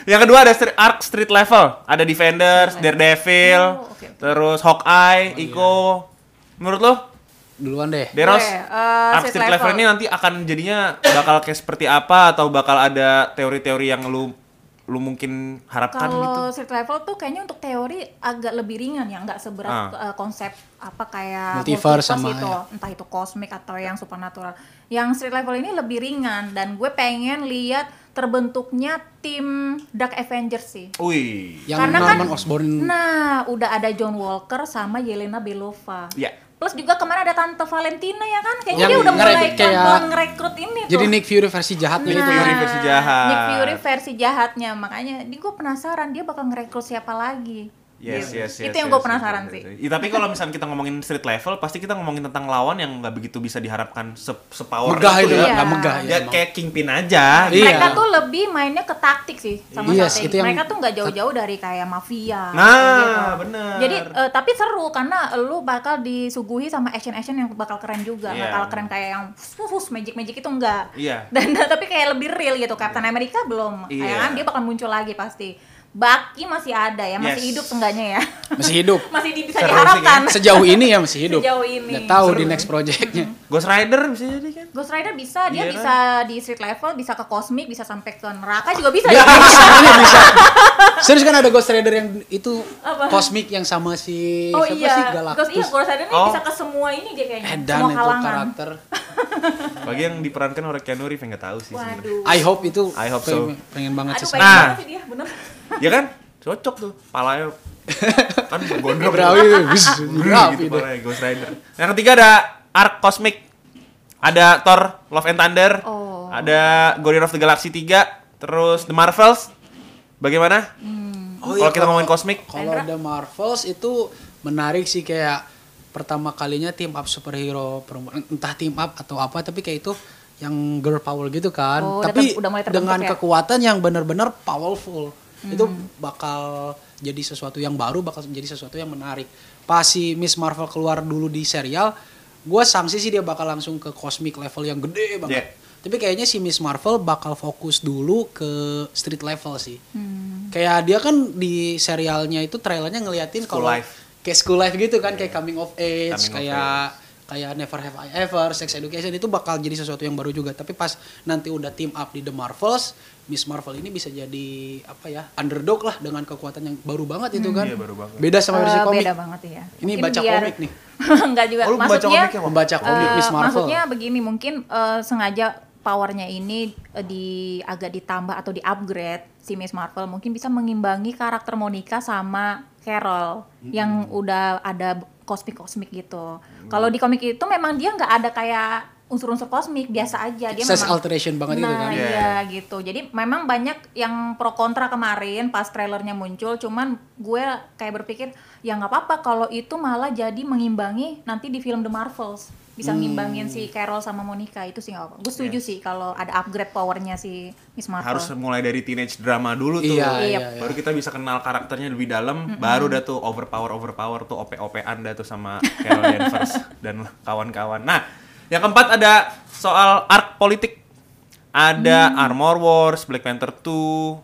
yang kedua ada stri- arc street level, ada Defenders, Daredevil, Oh, oke, oke. terus Oh, iya. Hawkeye, Iko. Menurut lo, Duluan deh. Deros, Gue, eh, arc street level ini nanti akan jadinya bakal kayak seperti apa atau bakal ada teori-teori yang lu lu mungkin harapkan gitu? Kalau street level tuh kayaknya untuk teori agak lebih ringan ya, nggak seberat Ah. ke- eh, konsep apa kayak Multiverse sama itu, ya. entah itu kosmik atau yang supernatural. Yang street level ini lebih ringan dan gue pengen lihat terbentuknya tim Dark Avengers sih. Wih. Yang Karena kan- Norman Osborn Nah, udah ada John Walker sama Yelena Belova. Ya. Plus juga kemarin ada Tante Valentina ya kan, kayaknya Yang dia udah mulai ngerekrut kayak- kan ngerekrut ini tuh. jadi Nick Fury versi Nah. jahatnya Nick itu Fury ya. versi jahat. Nick Fury versi jahatnya, makanya di gue penasaran dia bakal ngerekrut siapa lagi. Yes, Gitu. yes, yes, Itu yang gue yes, yes, penasaran yes, sih. yes. Ya, tapi kalau misalnya kita ngomongin street level, pasti kita ngomongin tentang lawan yang nggak begitu bisa diharapkan se sepower Megah itu itu Iya. ya, nggak megah ya. Ya emang. kayak kingpin aja. gitu. Iya. Mereka tuh lebih mainnya ke taktik sih sama Yes, strategi. itu yang- Mereka tuh nggak jauh-jauh dari kayak mafia. Nah, kayak bener. Jadi eh, tapi seru karena lu bakal disuguhi sama action-action yang bakal keren juga. Iya. Bakal keren kayak yang fus magic-magic itu enggak. Iya. [laughs] Dan tapi kayak lebih real gitu. Captain America belum. Iya. Ya kan dia bakal muncul lagi pasti. Bucky masih ada ya, masih Yes. hidup seenggaknya ya. [laughs] Masih hidup. masih di- bisa Seru sih, diharapkan. Sejauh ini ya masih hidup. Sejauh ini. Hmm. Nggak tahu di next projectnya. Ghost Rider bisa jadi kan? Ghost Rider bisa, dia Iya kan? bisa di street level, bisa ke kosmik, bisa sampai ke neraka juga [laughs] bisa. Dia ya? mix, dia Iya, bisa. Serius kan ada Ghost Rider yang itu Apa? kosmik yang sama si Oh siapa iya, Ghost, sih iya, Galactus. Ghost Rider ini Oh. bisa ke semua ini dia kayaknya, Edan semua itu kalangan. karakter. Bagi yang diperankan oleh Keanu Reeves nggak tahu sih sebenarnya. Waduh, I hope itu. I hope so. pengen- Pengen banget aduh sih. pengen Nah. banget sih dia, bener. Ya kan? Cocok tuh. [laughs] Palanya kan gondrong. Berawi, wis, Brr, berawi gitu deh. palanya Ghost Rider. Yang ketiga ada Ark Cosmic. Ada Thor Love and Thunder. Oh. Ada Guardian of the Galaxy 3, terus The Marvels. Bagaimana? Hmm. Oh kalau iya, kita ngomongin kosmik, Kalau Rendra? The Marvels itu menarik sih kayak pertama kalinya team up superhero perempuan entah team up atau apa tapi kayak itu yang girl power gitu kan. Oh, udah tapi ter- udah mulai terbentuk dengan ya? Hmm. kekuatan yang benar-benar powerful. Itu bakal jadi sesuatu yang baru, bakal menjadi sesuatu yang menarik. Pas si Miss Marvel keluar dulu di serial, gue sangsi sih dia bakal langsung ke cosmic level yang gede banget. Yeah. Tapi kayaknya si Miss Marvel bakal fokus dulu ke street level sih. Kayak dia kan di serialnya itu trailernya ngeliatin School kalau life. Iya. kayak school life gitu kan, kayak coming of Coming age, of kayak kayak never have I ever, sex education itu bakal jadi sesuatu yang baru juga. Tapi pas nanti udah team up di The Marvels, Miss Marvel ini bisa jadi apa ya underdog lah dengan kekuatan yang baru banget itu kan. Iya, baru banget. Beda sama versi Eh, komik. Beda banget ya. Ini baca komik [laughs] nih. Enggak juga, Oh, lu baca maksudnya komik ya, Wak? Membaca komik Eh, Miss Marvel. Maksudnya begini, mungkin eh, sengaja powernya ini eh, di agak ditambah atau di-upgrade si Miss Marvel mungkin bisa mengimbangi karakter Monica sama Carol yang udah ada kosmik-kosmik gitu. Mm. Kalau di komik itu memang dia nggak ada kayak unsur-unsur kosmik biasa aja Ya, dia Size memang alteration banget itu nah, kan. Iya. iya gitu. Jadi memang banyak yang pro kontra kemarin pas trailernya muncul. Cuman gue kayak berpikir ya nggak apa-apa kalau itu malah jadi mengimbangi nanti di film The Marvels bisa Hmm. ngimbangin si Carol sama Monica itu sih nggak apa-apa. Gue Iya. setuju sih kalau ada upgrade powernya si Miss Marvel. harus mulai dari teenage drama dulu tuh. Iya, Iya. iya, iya. Baru kita bisa kenal karakternya lebih dalam, baru dah tuh overpower overpower tuh OP-OP-an dah tuh sama [laughs] Carol Danvers dan kawan-kawan. Nah, yang keempat ada soal arc politik. Ada Hmm. Armor Wars, Black Panther 2,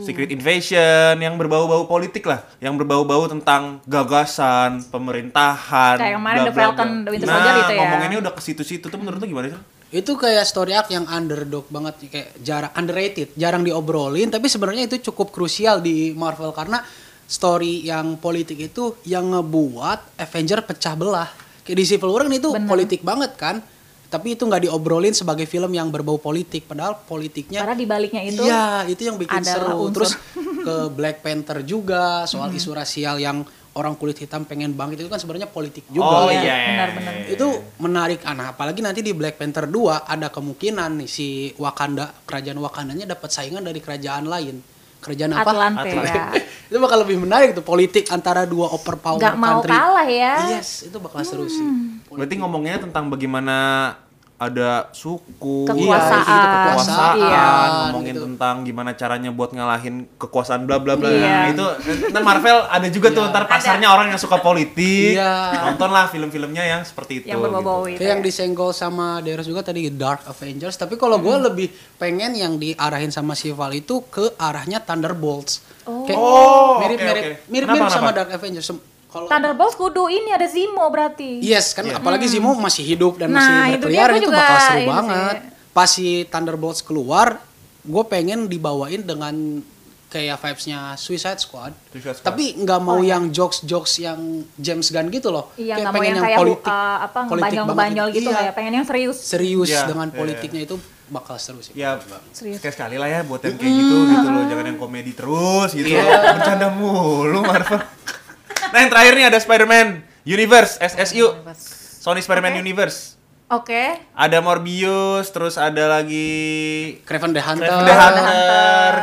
Secret Invasion yang berbau-bau politik lah, yang berbau-bau tentang gagasan, pemerintahan. Kayak kemarin The bla-bla-bla. Falcon, The Winter nah, Soldier itu ya. ngomonginnya udah ke situ-situ tuh menurut lu gimana sih? itu kayak story arc yang underdog banget kayak jarang underrated jarang diobrolin tapi sebenarnya itu cukup krusial di Marvel karena story yang politik itu yang ngebuat Avenger pecah belah kayak di Civil War kan itu Bener. politik banget kan tapi itu nggak diobrolin sebagai film yang berbau politik padahal politiknya Karena di baliknya itu Iya, itu yang bikin ada seru. unsur. [laughs] Terus ke Black Panther juga soal isu rasial yang orang kulit hitam pengen bangkit itu kan sebenarnya politik juga. ya. oh iya. benar-benar. Itu menarik anak apalagi nanti di Black Panther 2 ada kemungkinan nih si Wakanda kerajaan Wakandanya dapat saingan dari kerajaan lain. Kerajaan apa? Eh, Atlante Iya. ya. itu bakal lebih menarik tuh politik antara dua overpower Nggak mau country. Iya. kalah ya. Hmm. Yes, itu bakal seru sih. Berarti ngomongnya tentang bagaimana ada suku, Kekuasaan. iya, gitu, kekuasaan, Iya. ngomongin tentang gimana caranya buat ngalahin kekuasaan bla bla bla. Iya. Nah, itu ntar Marvel ada juga tuh ntar pasarnya orang yang suka politik. Iya. Nontonlah film-filmnya yang seperti itu. yang berbau-bau itu. gitu. Kayak yang ya. disenggol sama Darius juga tadi Dark Avengers. Tapi kalau gue Hmm. lebih pengen yang diarahin sama Sival itu ke arahnya Thunderbolts. Oh. Kayak Oh, mirip-mirip, oke, oke. mirip-mirip Kenapa, sama kenapa? Dark Avengers. Sem- Kalau Thunderbolts kudu ini ada Zemo berarti. Yes, kan Iya. apalagi Zemo masih hidup dan Hmm. Nah, masih itu dia, berkeliaran gua itu, juga bakal seru ini sih. banget. Pas si Thunderbolts keluar, gue pengen dibawain dengan kayak vibes-nya Suicide Squad. Suicide Squad. Tapi nggak Oh, mau iya. yang jokes-jokes yang James Gunn gitu loh. Iya, nggak mau yang kayak uh, apa politik banget ngebanjol-ngebanjol gitu Iya, kayak pengen yang serius. serius Iya, dengan iya, politiknya itu bakal seru sih. ya Serius. sekali sekali lah ya buat yang kayak gitu gitu loh jangan yang komedi terus gitu Iya. loh bercanda mulu Marvel nah yang terakhir nih ada Spider-Man Universe SSU Sony Spider-Man Oke. Universe Oke. ada Morbius terus ada lagi Craven the Hunter. Craven the Hunter Hunter.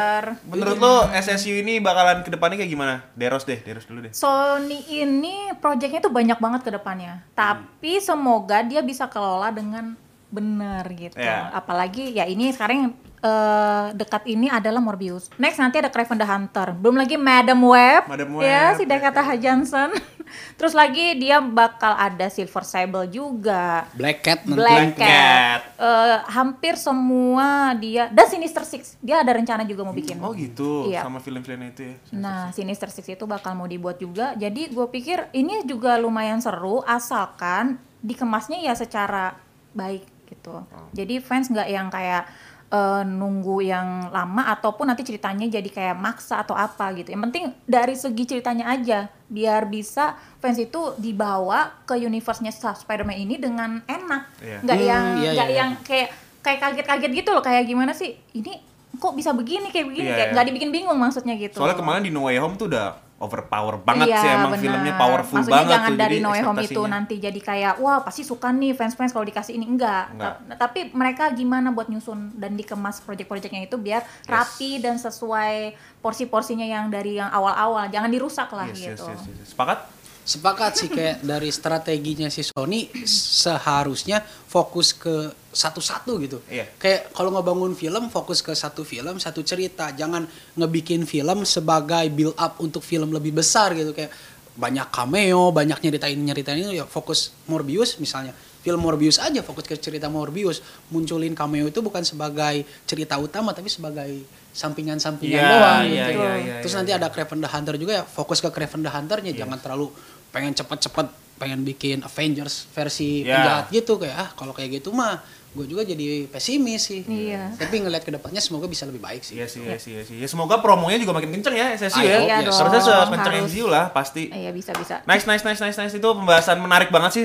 menurut lo SSU ini bakalan kedepannya kayak gimana Deros deh Deros dulu deh Sony ini proyeknya tuh banyak banget ke depannya. Hmm. Tapi semoga dia bisa kelola dengan benar gitu. Iya. Apalagi ya ini sekarang yang, eh, dekat ini adalah Morbius. Next nanti ada Craven the Hunter. Belum lagi Madam Web. Madam Ya, si Web, Dakota Johnson. [laughs] Terus lagi dia bakal ada Silver Sable juga. Black Cat nanti. Black Cat. Cat. Eh, hampir semua dia dan Sinister Six dia ada rencana juga mau bikin. oh gitu Iya. sama film-filmnya itu ya Nah, Sinister Six itu bakal mau dibuat juga. Jadi gue pikir ini juga lumayan seru asalkan dikemasnya ya secara baik gitu. Oh. Jadi fans nggak yang kayak eh, nunggu yang lama ataupun nanti ceritanya jadi kayak maksa atau apa gitu. Yang penting dari segi ceritanya aja biar bisa fans itu dibawa ke universe-nya Sa- Spider-Man ini dengan enak. Iya. Nggak Hmm, yang iya, nggak iya. yang kayak kayak kaget-kaget gitu loh kayak gimana sih? Ini kok bisa begini kayak begini Iya, kayak iya. nggak dibikin bingung maksudnya gitu. Soalnya kemarin di No Way Home tuh udah overpower banget Iya, sih emang benar. filmnya powerful Maksudnya banget jangan tuh. dari jadi No Way Home itu ekspektasinya. nanti jadi kayak wah pasti suka nih fans-fans kalau dikasih ini enggak. Enggak. Ta- Tapi mereka gimana buat nyusun dan dikemas project-projectnya itu biar rapi dan sesuai porsi-porsinya yang dari yang awal-awal. Jangan dirusak lah Yes, yes, gitu. yes, yes. Sepakat? Sepakat sih kayak dari strateginya si Sony seharusnya fokus ke satu-satu gitu. Iya. Kayak kalau ngebangun film fokus ke satu film, satu cerita. Jangan ngebikin film sebagai build up untuk film lebih besar gitu kayak banyak cameo, banyak nyeritain nyeritain itu ya fokus Morbius misalnya. Film Morbius aja fokus ke cerita Morbius. Munculin cameo itu bukan sebagai cerita utama tapi sebagai sampingan-sampingan Iya, doang iya, gitu. iya, iya, Terus iya, nanti iya. ada ada Craven the Hunter juga ya fokus ke Craven the Hunternya jangan terlalu pengen cepet-cepet pengen bikin Avengers versi Ya. penjahat gitu kayak ah kalau kayak gitu mah gue juga jadi pesimis sih Iya. tapi ngelihat ke depannya semoga bisa lebih baik sih Iya sih, iya sih, iya sih. Ya semoga promonya juga makin kenceng ya SSU Ayo, ya. iya dong, Harusnya sekenceng harus. MCU lah pasti. Iya bisa-bisa. Nice, nice, nice, nice, nice. Itu pembahasan menarik banget sih.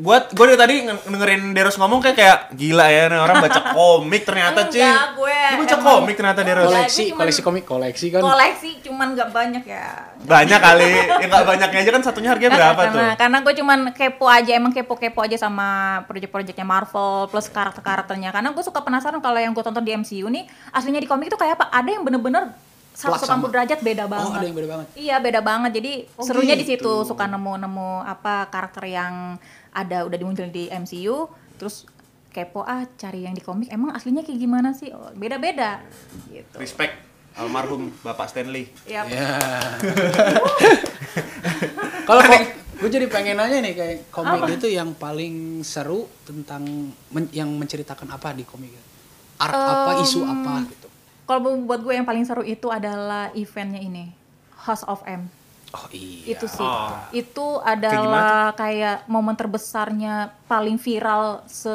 Buat gue dari tadi nge- dengerin Deros ngomong kayak kayak gila ya nih orang [laughs] baca komik ternyata cuy. Enggak, gue Lu baca emang- komik ternyata Deros. Boleh. koleksi cuman- koleksi komik koleksi kan Koleksi cuman nggak banyak ya. Banyak kali. Ya enggak banyaknya aja kan satunya harganya berapa karena, tuh? Karena gue cuman kepo aja, emang kepo-kepo aja sama project-projectnya Marvel plus karakter-karakternya. Karena gue suka penasaran kalau yang gue tonton di MCU nih aslinya di komik itu kayak apa? Ada yang bener-bener Plak 180 sama. derajat beda banget. oh ada yang beda banget Iya beda banget. Jadi Oh, serunya di situ gitu. suka nemu-nemu apa karakter yang ada udah dimunculin di MCU, terus kepo ah cari yang di komik emang aslinya kayak gimana sih? Oh, Beda-beda gitu. Respect almarhum Bapak Stanley. Yap. [laughs] ya kalau gue jadi pengen nanya nih kayak komik itu yang paling seru tentang men- yang menceritakan apa di komik art apa isu apa gitu Kalau bu- buat gue yang paling seru itu adalah eventnya ini House of M. oh iya itu sih Oh. itu adalah kayak momen terbesarnya paling viral se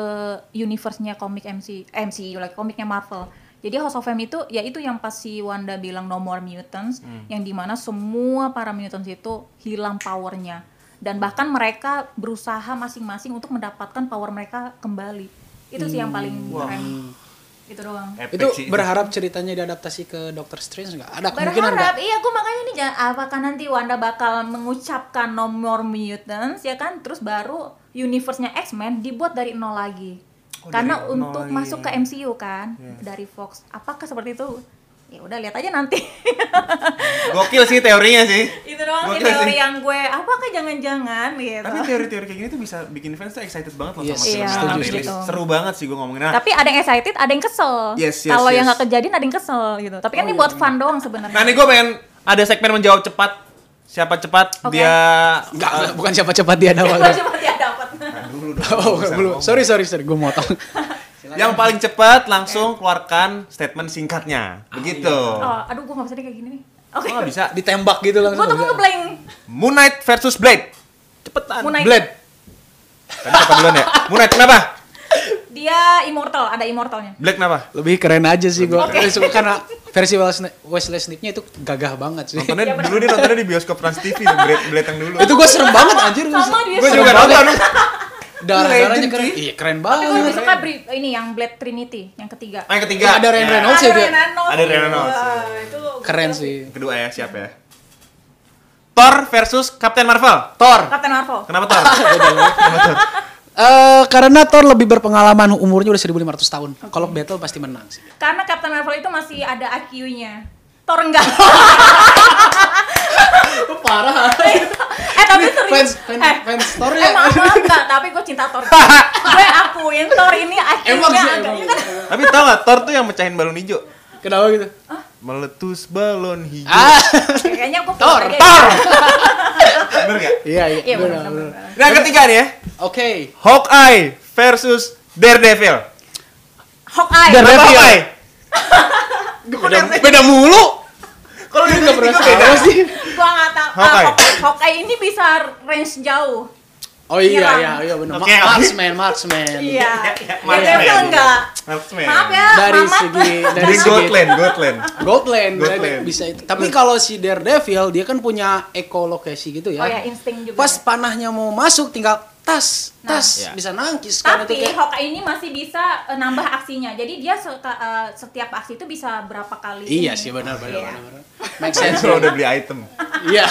universe nya komik MC MCU like komiknya Marvel jadi House of M itu ya itu yang pas si Wanda bilang no more mutants yang dimana semua para mutants itu hilang powernya dan bahkan mereka berusaha masing-masing untuk mendapatkan power mereka kembali itu sih yang paling keren itu doang Epic Itu sih. berharap ceritanya diadaptasi ke Doctor Strange nggak? Ada kemungkinan nggak? berharap iya gue makanya nih jangan apakah nanti Wanda bakal mengucapkan no more mutants ya kan terus baru universe-nya X-Men dibuat dari nol lagi Oh, karena dari nol untuk lagi. Iya. masuk ke MCU kan dari Fox apakah seperti itu ya udah lihat aja nanti Gokil sih teorinya sih. [laughs] itu doang sih Gokil sih. teori yang gue apakah jangan-jangan gitu Tapi teori-teori kayak gini tuh bisa bikin fans tuh excited banget loh Yes, sama film iya, yang akan setuju, rilis. setuju. Seru banget sih gue ngomongin. Nah, tapi ada yang excited ada yang kesel Yes, yes, kalau yang yes. Oh, iya. nggak kejadian ada yang kesel gitu tapi kan ini buat fun doang sebenarnya nah ini [laughs] gue pengen ada segmen menjawab cepat. Siapa cepat Oke. dia Nggak, nggak, bukan siapa cepat dia [laughs] ada gue cuma tidak dapat Nah, dulu dong. [laughs] Oh, Bisa belum. ngomong. Sorry, sorry, sorry. Gue [laughs] motong. Yang paling cepat langsung keluarkan statement singkatnya. Begitu. oh, aduh gue nggak bisa deh kayak gini nih oke Oh, nggak bisa. Ditembak gitu gue langsung. tuh mau ngeblank Moon Knight versus Blade. Cepetan. Moon Knight. Blade. Tadi siapa duluan ya? Moon Knight kenapa? Dia immortal, ada immortalnya. Black kenapa? Lebih keren aja sih gue. [laughs] Karena versi Wesley Wesley Snipes-nya itu gagah banget sih. Nontonnya dulu dia nontonnya di bioskop Trans TV tuh, Blade, Blade yang dulu. [laughs] itu gue serem banget anjir. Sama dia Gue serem juga banget. nonton. Darah-darahnya Legend, keren. cuy. Iya keren Tapi gue lebih banget. suka bri- ini yang Blade Trinity, yang ketiga. Ah, yang ketiga. Yang ada Ryan Ya. Reynolds ya, ada Bia? Reynolds. Ada Reynolds. Wah, itu gua Keren kira- sih. Yang Kedua ya, siapa ya? Thor versus Captain Marvel. Thor. Captain Marvel. Kenapa Thor? gitu. Eh karena Thor lebih berpengalaman umurnya udah 1500 tahun. Kalau battle pasti menang sih. Karena Captain Marvel itu masih ada IQ-nya. Thor enggak. [laughs] Parah. eh tapi serius. Fans, fans, eh, fans Thor eh, ya. maaf, maaf enggak, tapi gue cinta Thor. gue akuin Thor ini [laughs] Emang IQ-nya sih agak. emang. Iya kan? Tapi tau gak, Thor tuh yang mecahin balon hijau. Kenapa gitu? Meletus balon hijau. Ah. Kayaknya gue Thor, Thor. Bener gak? Iya iya. Iya benar, benar. benar. benar. Nah ketiga nih ya, Oke. Hawkeye versus Daredevil. Hawkeye. Dan- Kenapa Daredevil. Hawkeye? Beda, beda mulu. Kalau dia Enggak pernah beda. sama sih. Gua enggak tahu. Ah, Hawkeye. Hawkeye. Hawkeye ini bisa range jauh. Oh iya Hilang. iya iya benar. Oke, oke. Marksman, marksman. Iya. iya, Daredevil Marksman. enggak. Marksman. Maaf ya, Dari Mamat. segi- dari Dari segi- Gotland, Gotland. [laughs] Goldland, Goldland. bisa itu. Tapi kalau si Daredevil dia kan punya ekolokasi gitu ya. Oh ya, insting juga. Pas panahnya mau masuk tinggal tas, tas Nah. bisa nangkis kan itu Tapi [laughs] kayak- Hawkeye ini masih bisa eh, nambah aksinya. Jadi dia suka, eh, setiap aksi itu bisa berapa kali. Iya ini. sih benar benar Iya. benar. benar. Make Saya sense. selalu [laughs] udah beli item. Iya.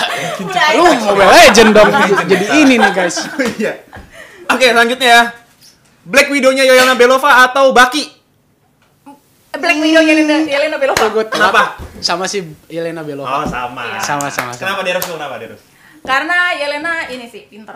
Udah, Lu itu. Mobile Legend dong jadi ini nih guys. Iya. Oke, selanjutnya ya. Black Widow-nya Yoyana Belova atau Baki? Black Widow Yelena, Yelena Belova. Gue Kenapa? Sama si Elena Oh, Belova. sama. Iya. Sama, sama, sama. Kenapa Derus? Kenapa Derus? Karena Yelena ini sih pinter.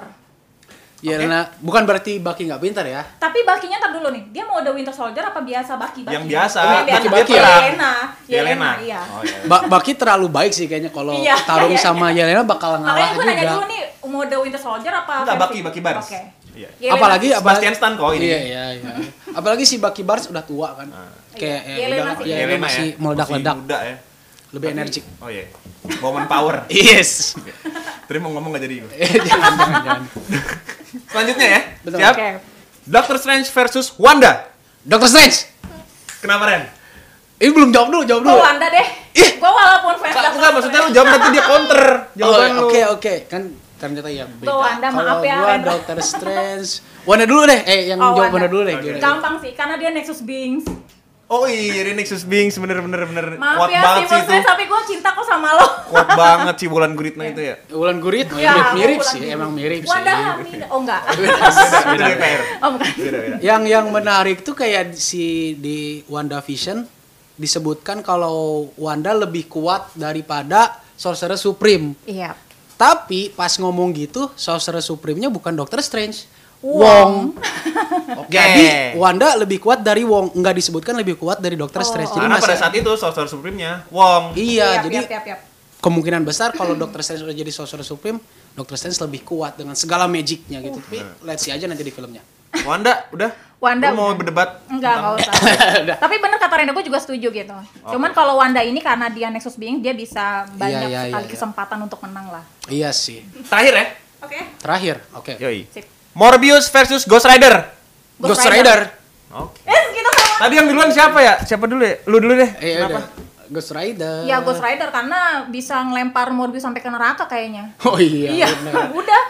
Yelena bukan berarti Baki nggak pintar ya. Tapi bakinya tar dulu nih. Dia mau The Winter Soldier apa biasa baki baki? Yang biasa. Baki-baki. Yelena. Yelena. Yelena. Iya. Oh, iya. Ba- Baki terlalu baik sih kayaknya kalau Iya, tarung iya, iya. sama Yelena bakal Makanya ngalah gue nanya juga. dulu nih, mau The Winter Soldier apa? Enggak, versi- Baki, Baki Barnes. Oke. Iya. Yelena. Apalagi apalagi Sebastian Stan kok Oh, ini. Ah. Iya iya iya. Apalagi si Baki Barnes udah tua kan. Kayak Iya, ya, Yelena udah- sih. Yelena Yelena masih ya. meledak-ledak, Masih muda ya. lebih energik. Oh iya. Woman power. [laughs] Yes. [laughs] Tadi mau ngomong gak jadi gue. Eh, jangan jangan jangan. Selanjutnya ya. Betul. Siap. Oke. Doctor Strange versus Wanda. Dr. Strange. Kenapa Ren? Ini belum jawab dulu, jawab Gua dulu. Wanda deh. Gue walaupun fans Enggak, Doctor enggak, maksudnya lu Strange. jawab nanti dia counter. Jawaban Oh, lu. Oke oke kan ternyata ya beda. Tuh, Anda maaf Kalau ya, Gua Rendra. Dr. Strange. Wanda dulu deh, eh yang Oh, jawab Wanda. Wanda dulu deh. Oke. gimana? Gampang sih, karena dia Nexus Beings. Oh iya, ini Nexus Bing sebenernya bener bener Maaf kuat ya, banget sih Steven itu. Strange, tapi gue cinta kok sama lo. Kuat banget sih bulan guritna itu ya. Wulan Gurit Oh, iya, Ya, [laughs] mirip, mirip aku sih, pulang emang dulu. mirip Wanda sih. Iya. Hamida. Oh [laughs] enggak. Beda, beda DPR. Oh bukan. Beda, beda. Yang yang menarik tuh kayak si di Wanda Vision disebutkan kalau Wanda lebih kuat daripada Sorcerer Supreme. Iya. Tapi pas ngomong gitu, Sorcerer Supreme-nya bukan Doctor Strange. Wong. [laughs] Wong. Jadi Wanda lebih kuat dari Wong, nggak disebutkan lebih kuat dari Doctor Oh, Strange. oh. Jadi Karena pada masih- saat itu Sorcerer Supreme-nya Wong. Iya, Yap, jadi yap, yap, yap. kemungkinan besar kalau Doctor Strange udah jadi Sorcerer Supreme, Doctor Strange lebih kuat dengan segala magicnya gitu. Tapi Oh. let's see aja nanti di filmnya. Wanda udah. Wanda, Lu mau udah. Mm. berdebat. Enggak, enggak usah. [laughs] Tapi bener kata Renda, gue juga setuju gitu. Oh. Cuman kalau Wanda ini karena dia Nexus Being, dia bisa banyak iya, sekali iya. kesempatan untuk menang lah. Iya sih. Terakhir ya. Oke. Terakhir, oke. Yoi. Sip. Morbius versus Ghost Rider. Ghost Ghost Rider. Rider. Oke. Eh, kita sama. Tadi yang duluan siapa ya? Siapa dulu ya? Lu dulu deh. Eh, Kenapa? udah. Ghost Rider. Ya Ghost Rider karena bisa ngelempar Morbius sampai ke neraka kayaknya. Oh iya. Iya, bener. [laughs] udah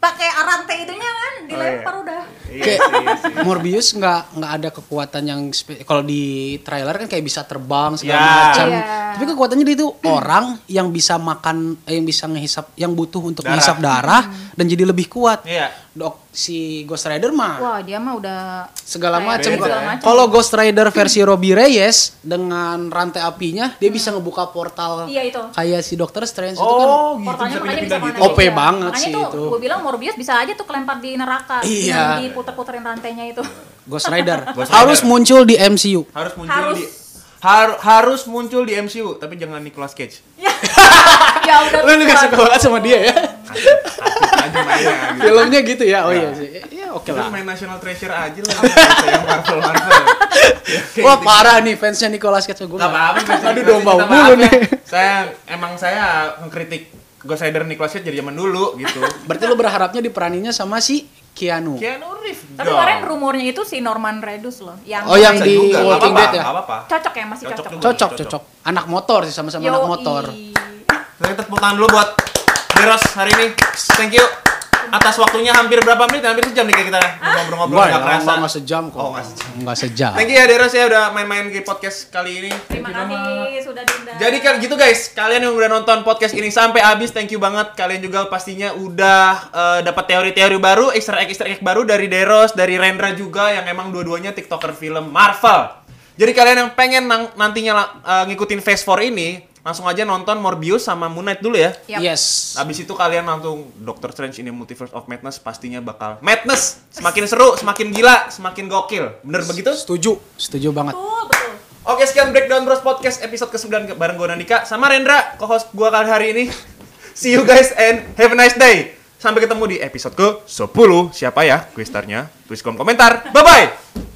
pakai arante itunya kan dilempar iya. udah. Iya, Kayak sih, iya sih. Morbius nggak nggak ada kekuatan yang spe- kalau di trailer kan kayak bisa terbang segala Ya. macam. Iya. Tapi kekuatannya dia itu orang yang bisa makan eh, yang bisa ngehisap yang butuh untuk Darah. ngehisap darah Hmm. dan jadi lebih kuat. Iya. Dok si Ghost Ah. Rider mah Wah, dia mah udah segala Kayak macam. beda segala ya. macam. Kalau Ghost Rider versi Robbie Reyes dengan rantai apinya dia bisa ngebuka portal Iya, itu. kayak si Doctor Strange itu kan Oh, gitu portalnya bisa makanya pindah-pindah bisa gitu. kemana OP banget makanya sih tuh, itu. Gue bilang Morbius bisa aja tuh kelempar di neraka. Iya. Dengan diputer-puterin rantainya [laughs] itu. Ghost Rider Ghost harus Rider. muncul di MCU. Harus muncul Harus. di har- harus muncul di MCU, tapi jangan Nicolas Cage. ya Ya udah. Lu nggak suka banget sama dia ya? Asik, asik aja mainnya gitu. Filmnya gitu ya? Oh iya sih. Ya oke Kita lah. main National Treasure aja lah. nggak usah yang Marvel Marvel. Wah parah nih fansnya Nicolas Cage gue. Gak apa-apa. Ghost Rider Aduh domba kita mulu maaf ya. nih. Saya emang saya mengkritik Ghost Rider Nicolas Cage dari zaman dulu gitu. Berarti lu berharapnya diperaninnya sama si Keanu. Keanu Reeves. Tapi kemarin rumornya itu si Norman Redus loh, yang Oh, yang Bisa di juga, nggak Walking apa-apa, Dead ya? nggak apa-apa. cocok ya masih Cocok cocok. juga. Cocok, cocok. Anak motor sih sama-sama anak Yoi. motor. Kita tepuk tangan dulu buat Deros hari ini. Thank you. Atas waktunya hampir berapa menit? Hampir sejam nih kayak kita ngobrol-ngobrol Oh, Enggak, nggak enggak, kerasa. enggak ya sejam kok. Oh, nggak sejam. Enggak sejam. Thank you ya Deros ya udah main-main di podcast kali ini. Terima kasih sudah diundang. Jadi kan gitu guys, kalian yang udah nonton podcast ini sampai habis, thank you banget. Kalian juga pastinya udah eh, dapat teori-teori baru, extra egg extra egg baru dari Deros, dari Rendra juga yang emang dua-duanya TikToker film Marvel. Jadi kalian yang pengen nang- nantinya la- eh, ngikutin Phase 4 ini, langsung aja nonton Morbius sama Moon Knight dulu ya. Yap. Yes. Abis itu kalian langsung Doctor Strange ini Multiverse of Madness pastinya bakal madness, semakin seru, semakin gila, semakin gokil. Bener begitu? Setuju, setuju banget. Betul, betul. Oke, sekian Breakdown Bros Podcast episode ke-9 bareng gue Nandika sama Rendra, co-host gue kali hari ini. See you guys and have a nice day. Sampai ketemu di episode ke-10. Siapa ya? Gue starnya. Tulis kolom komentar. Bye-bye!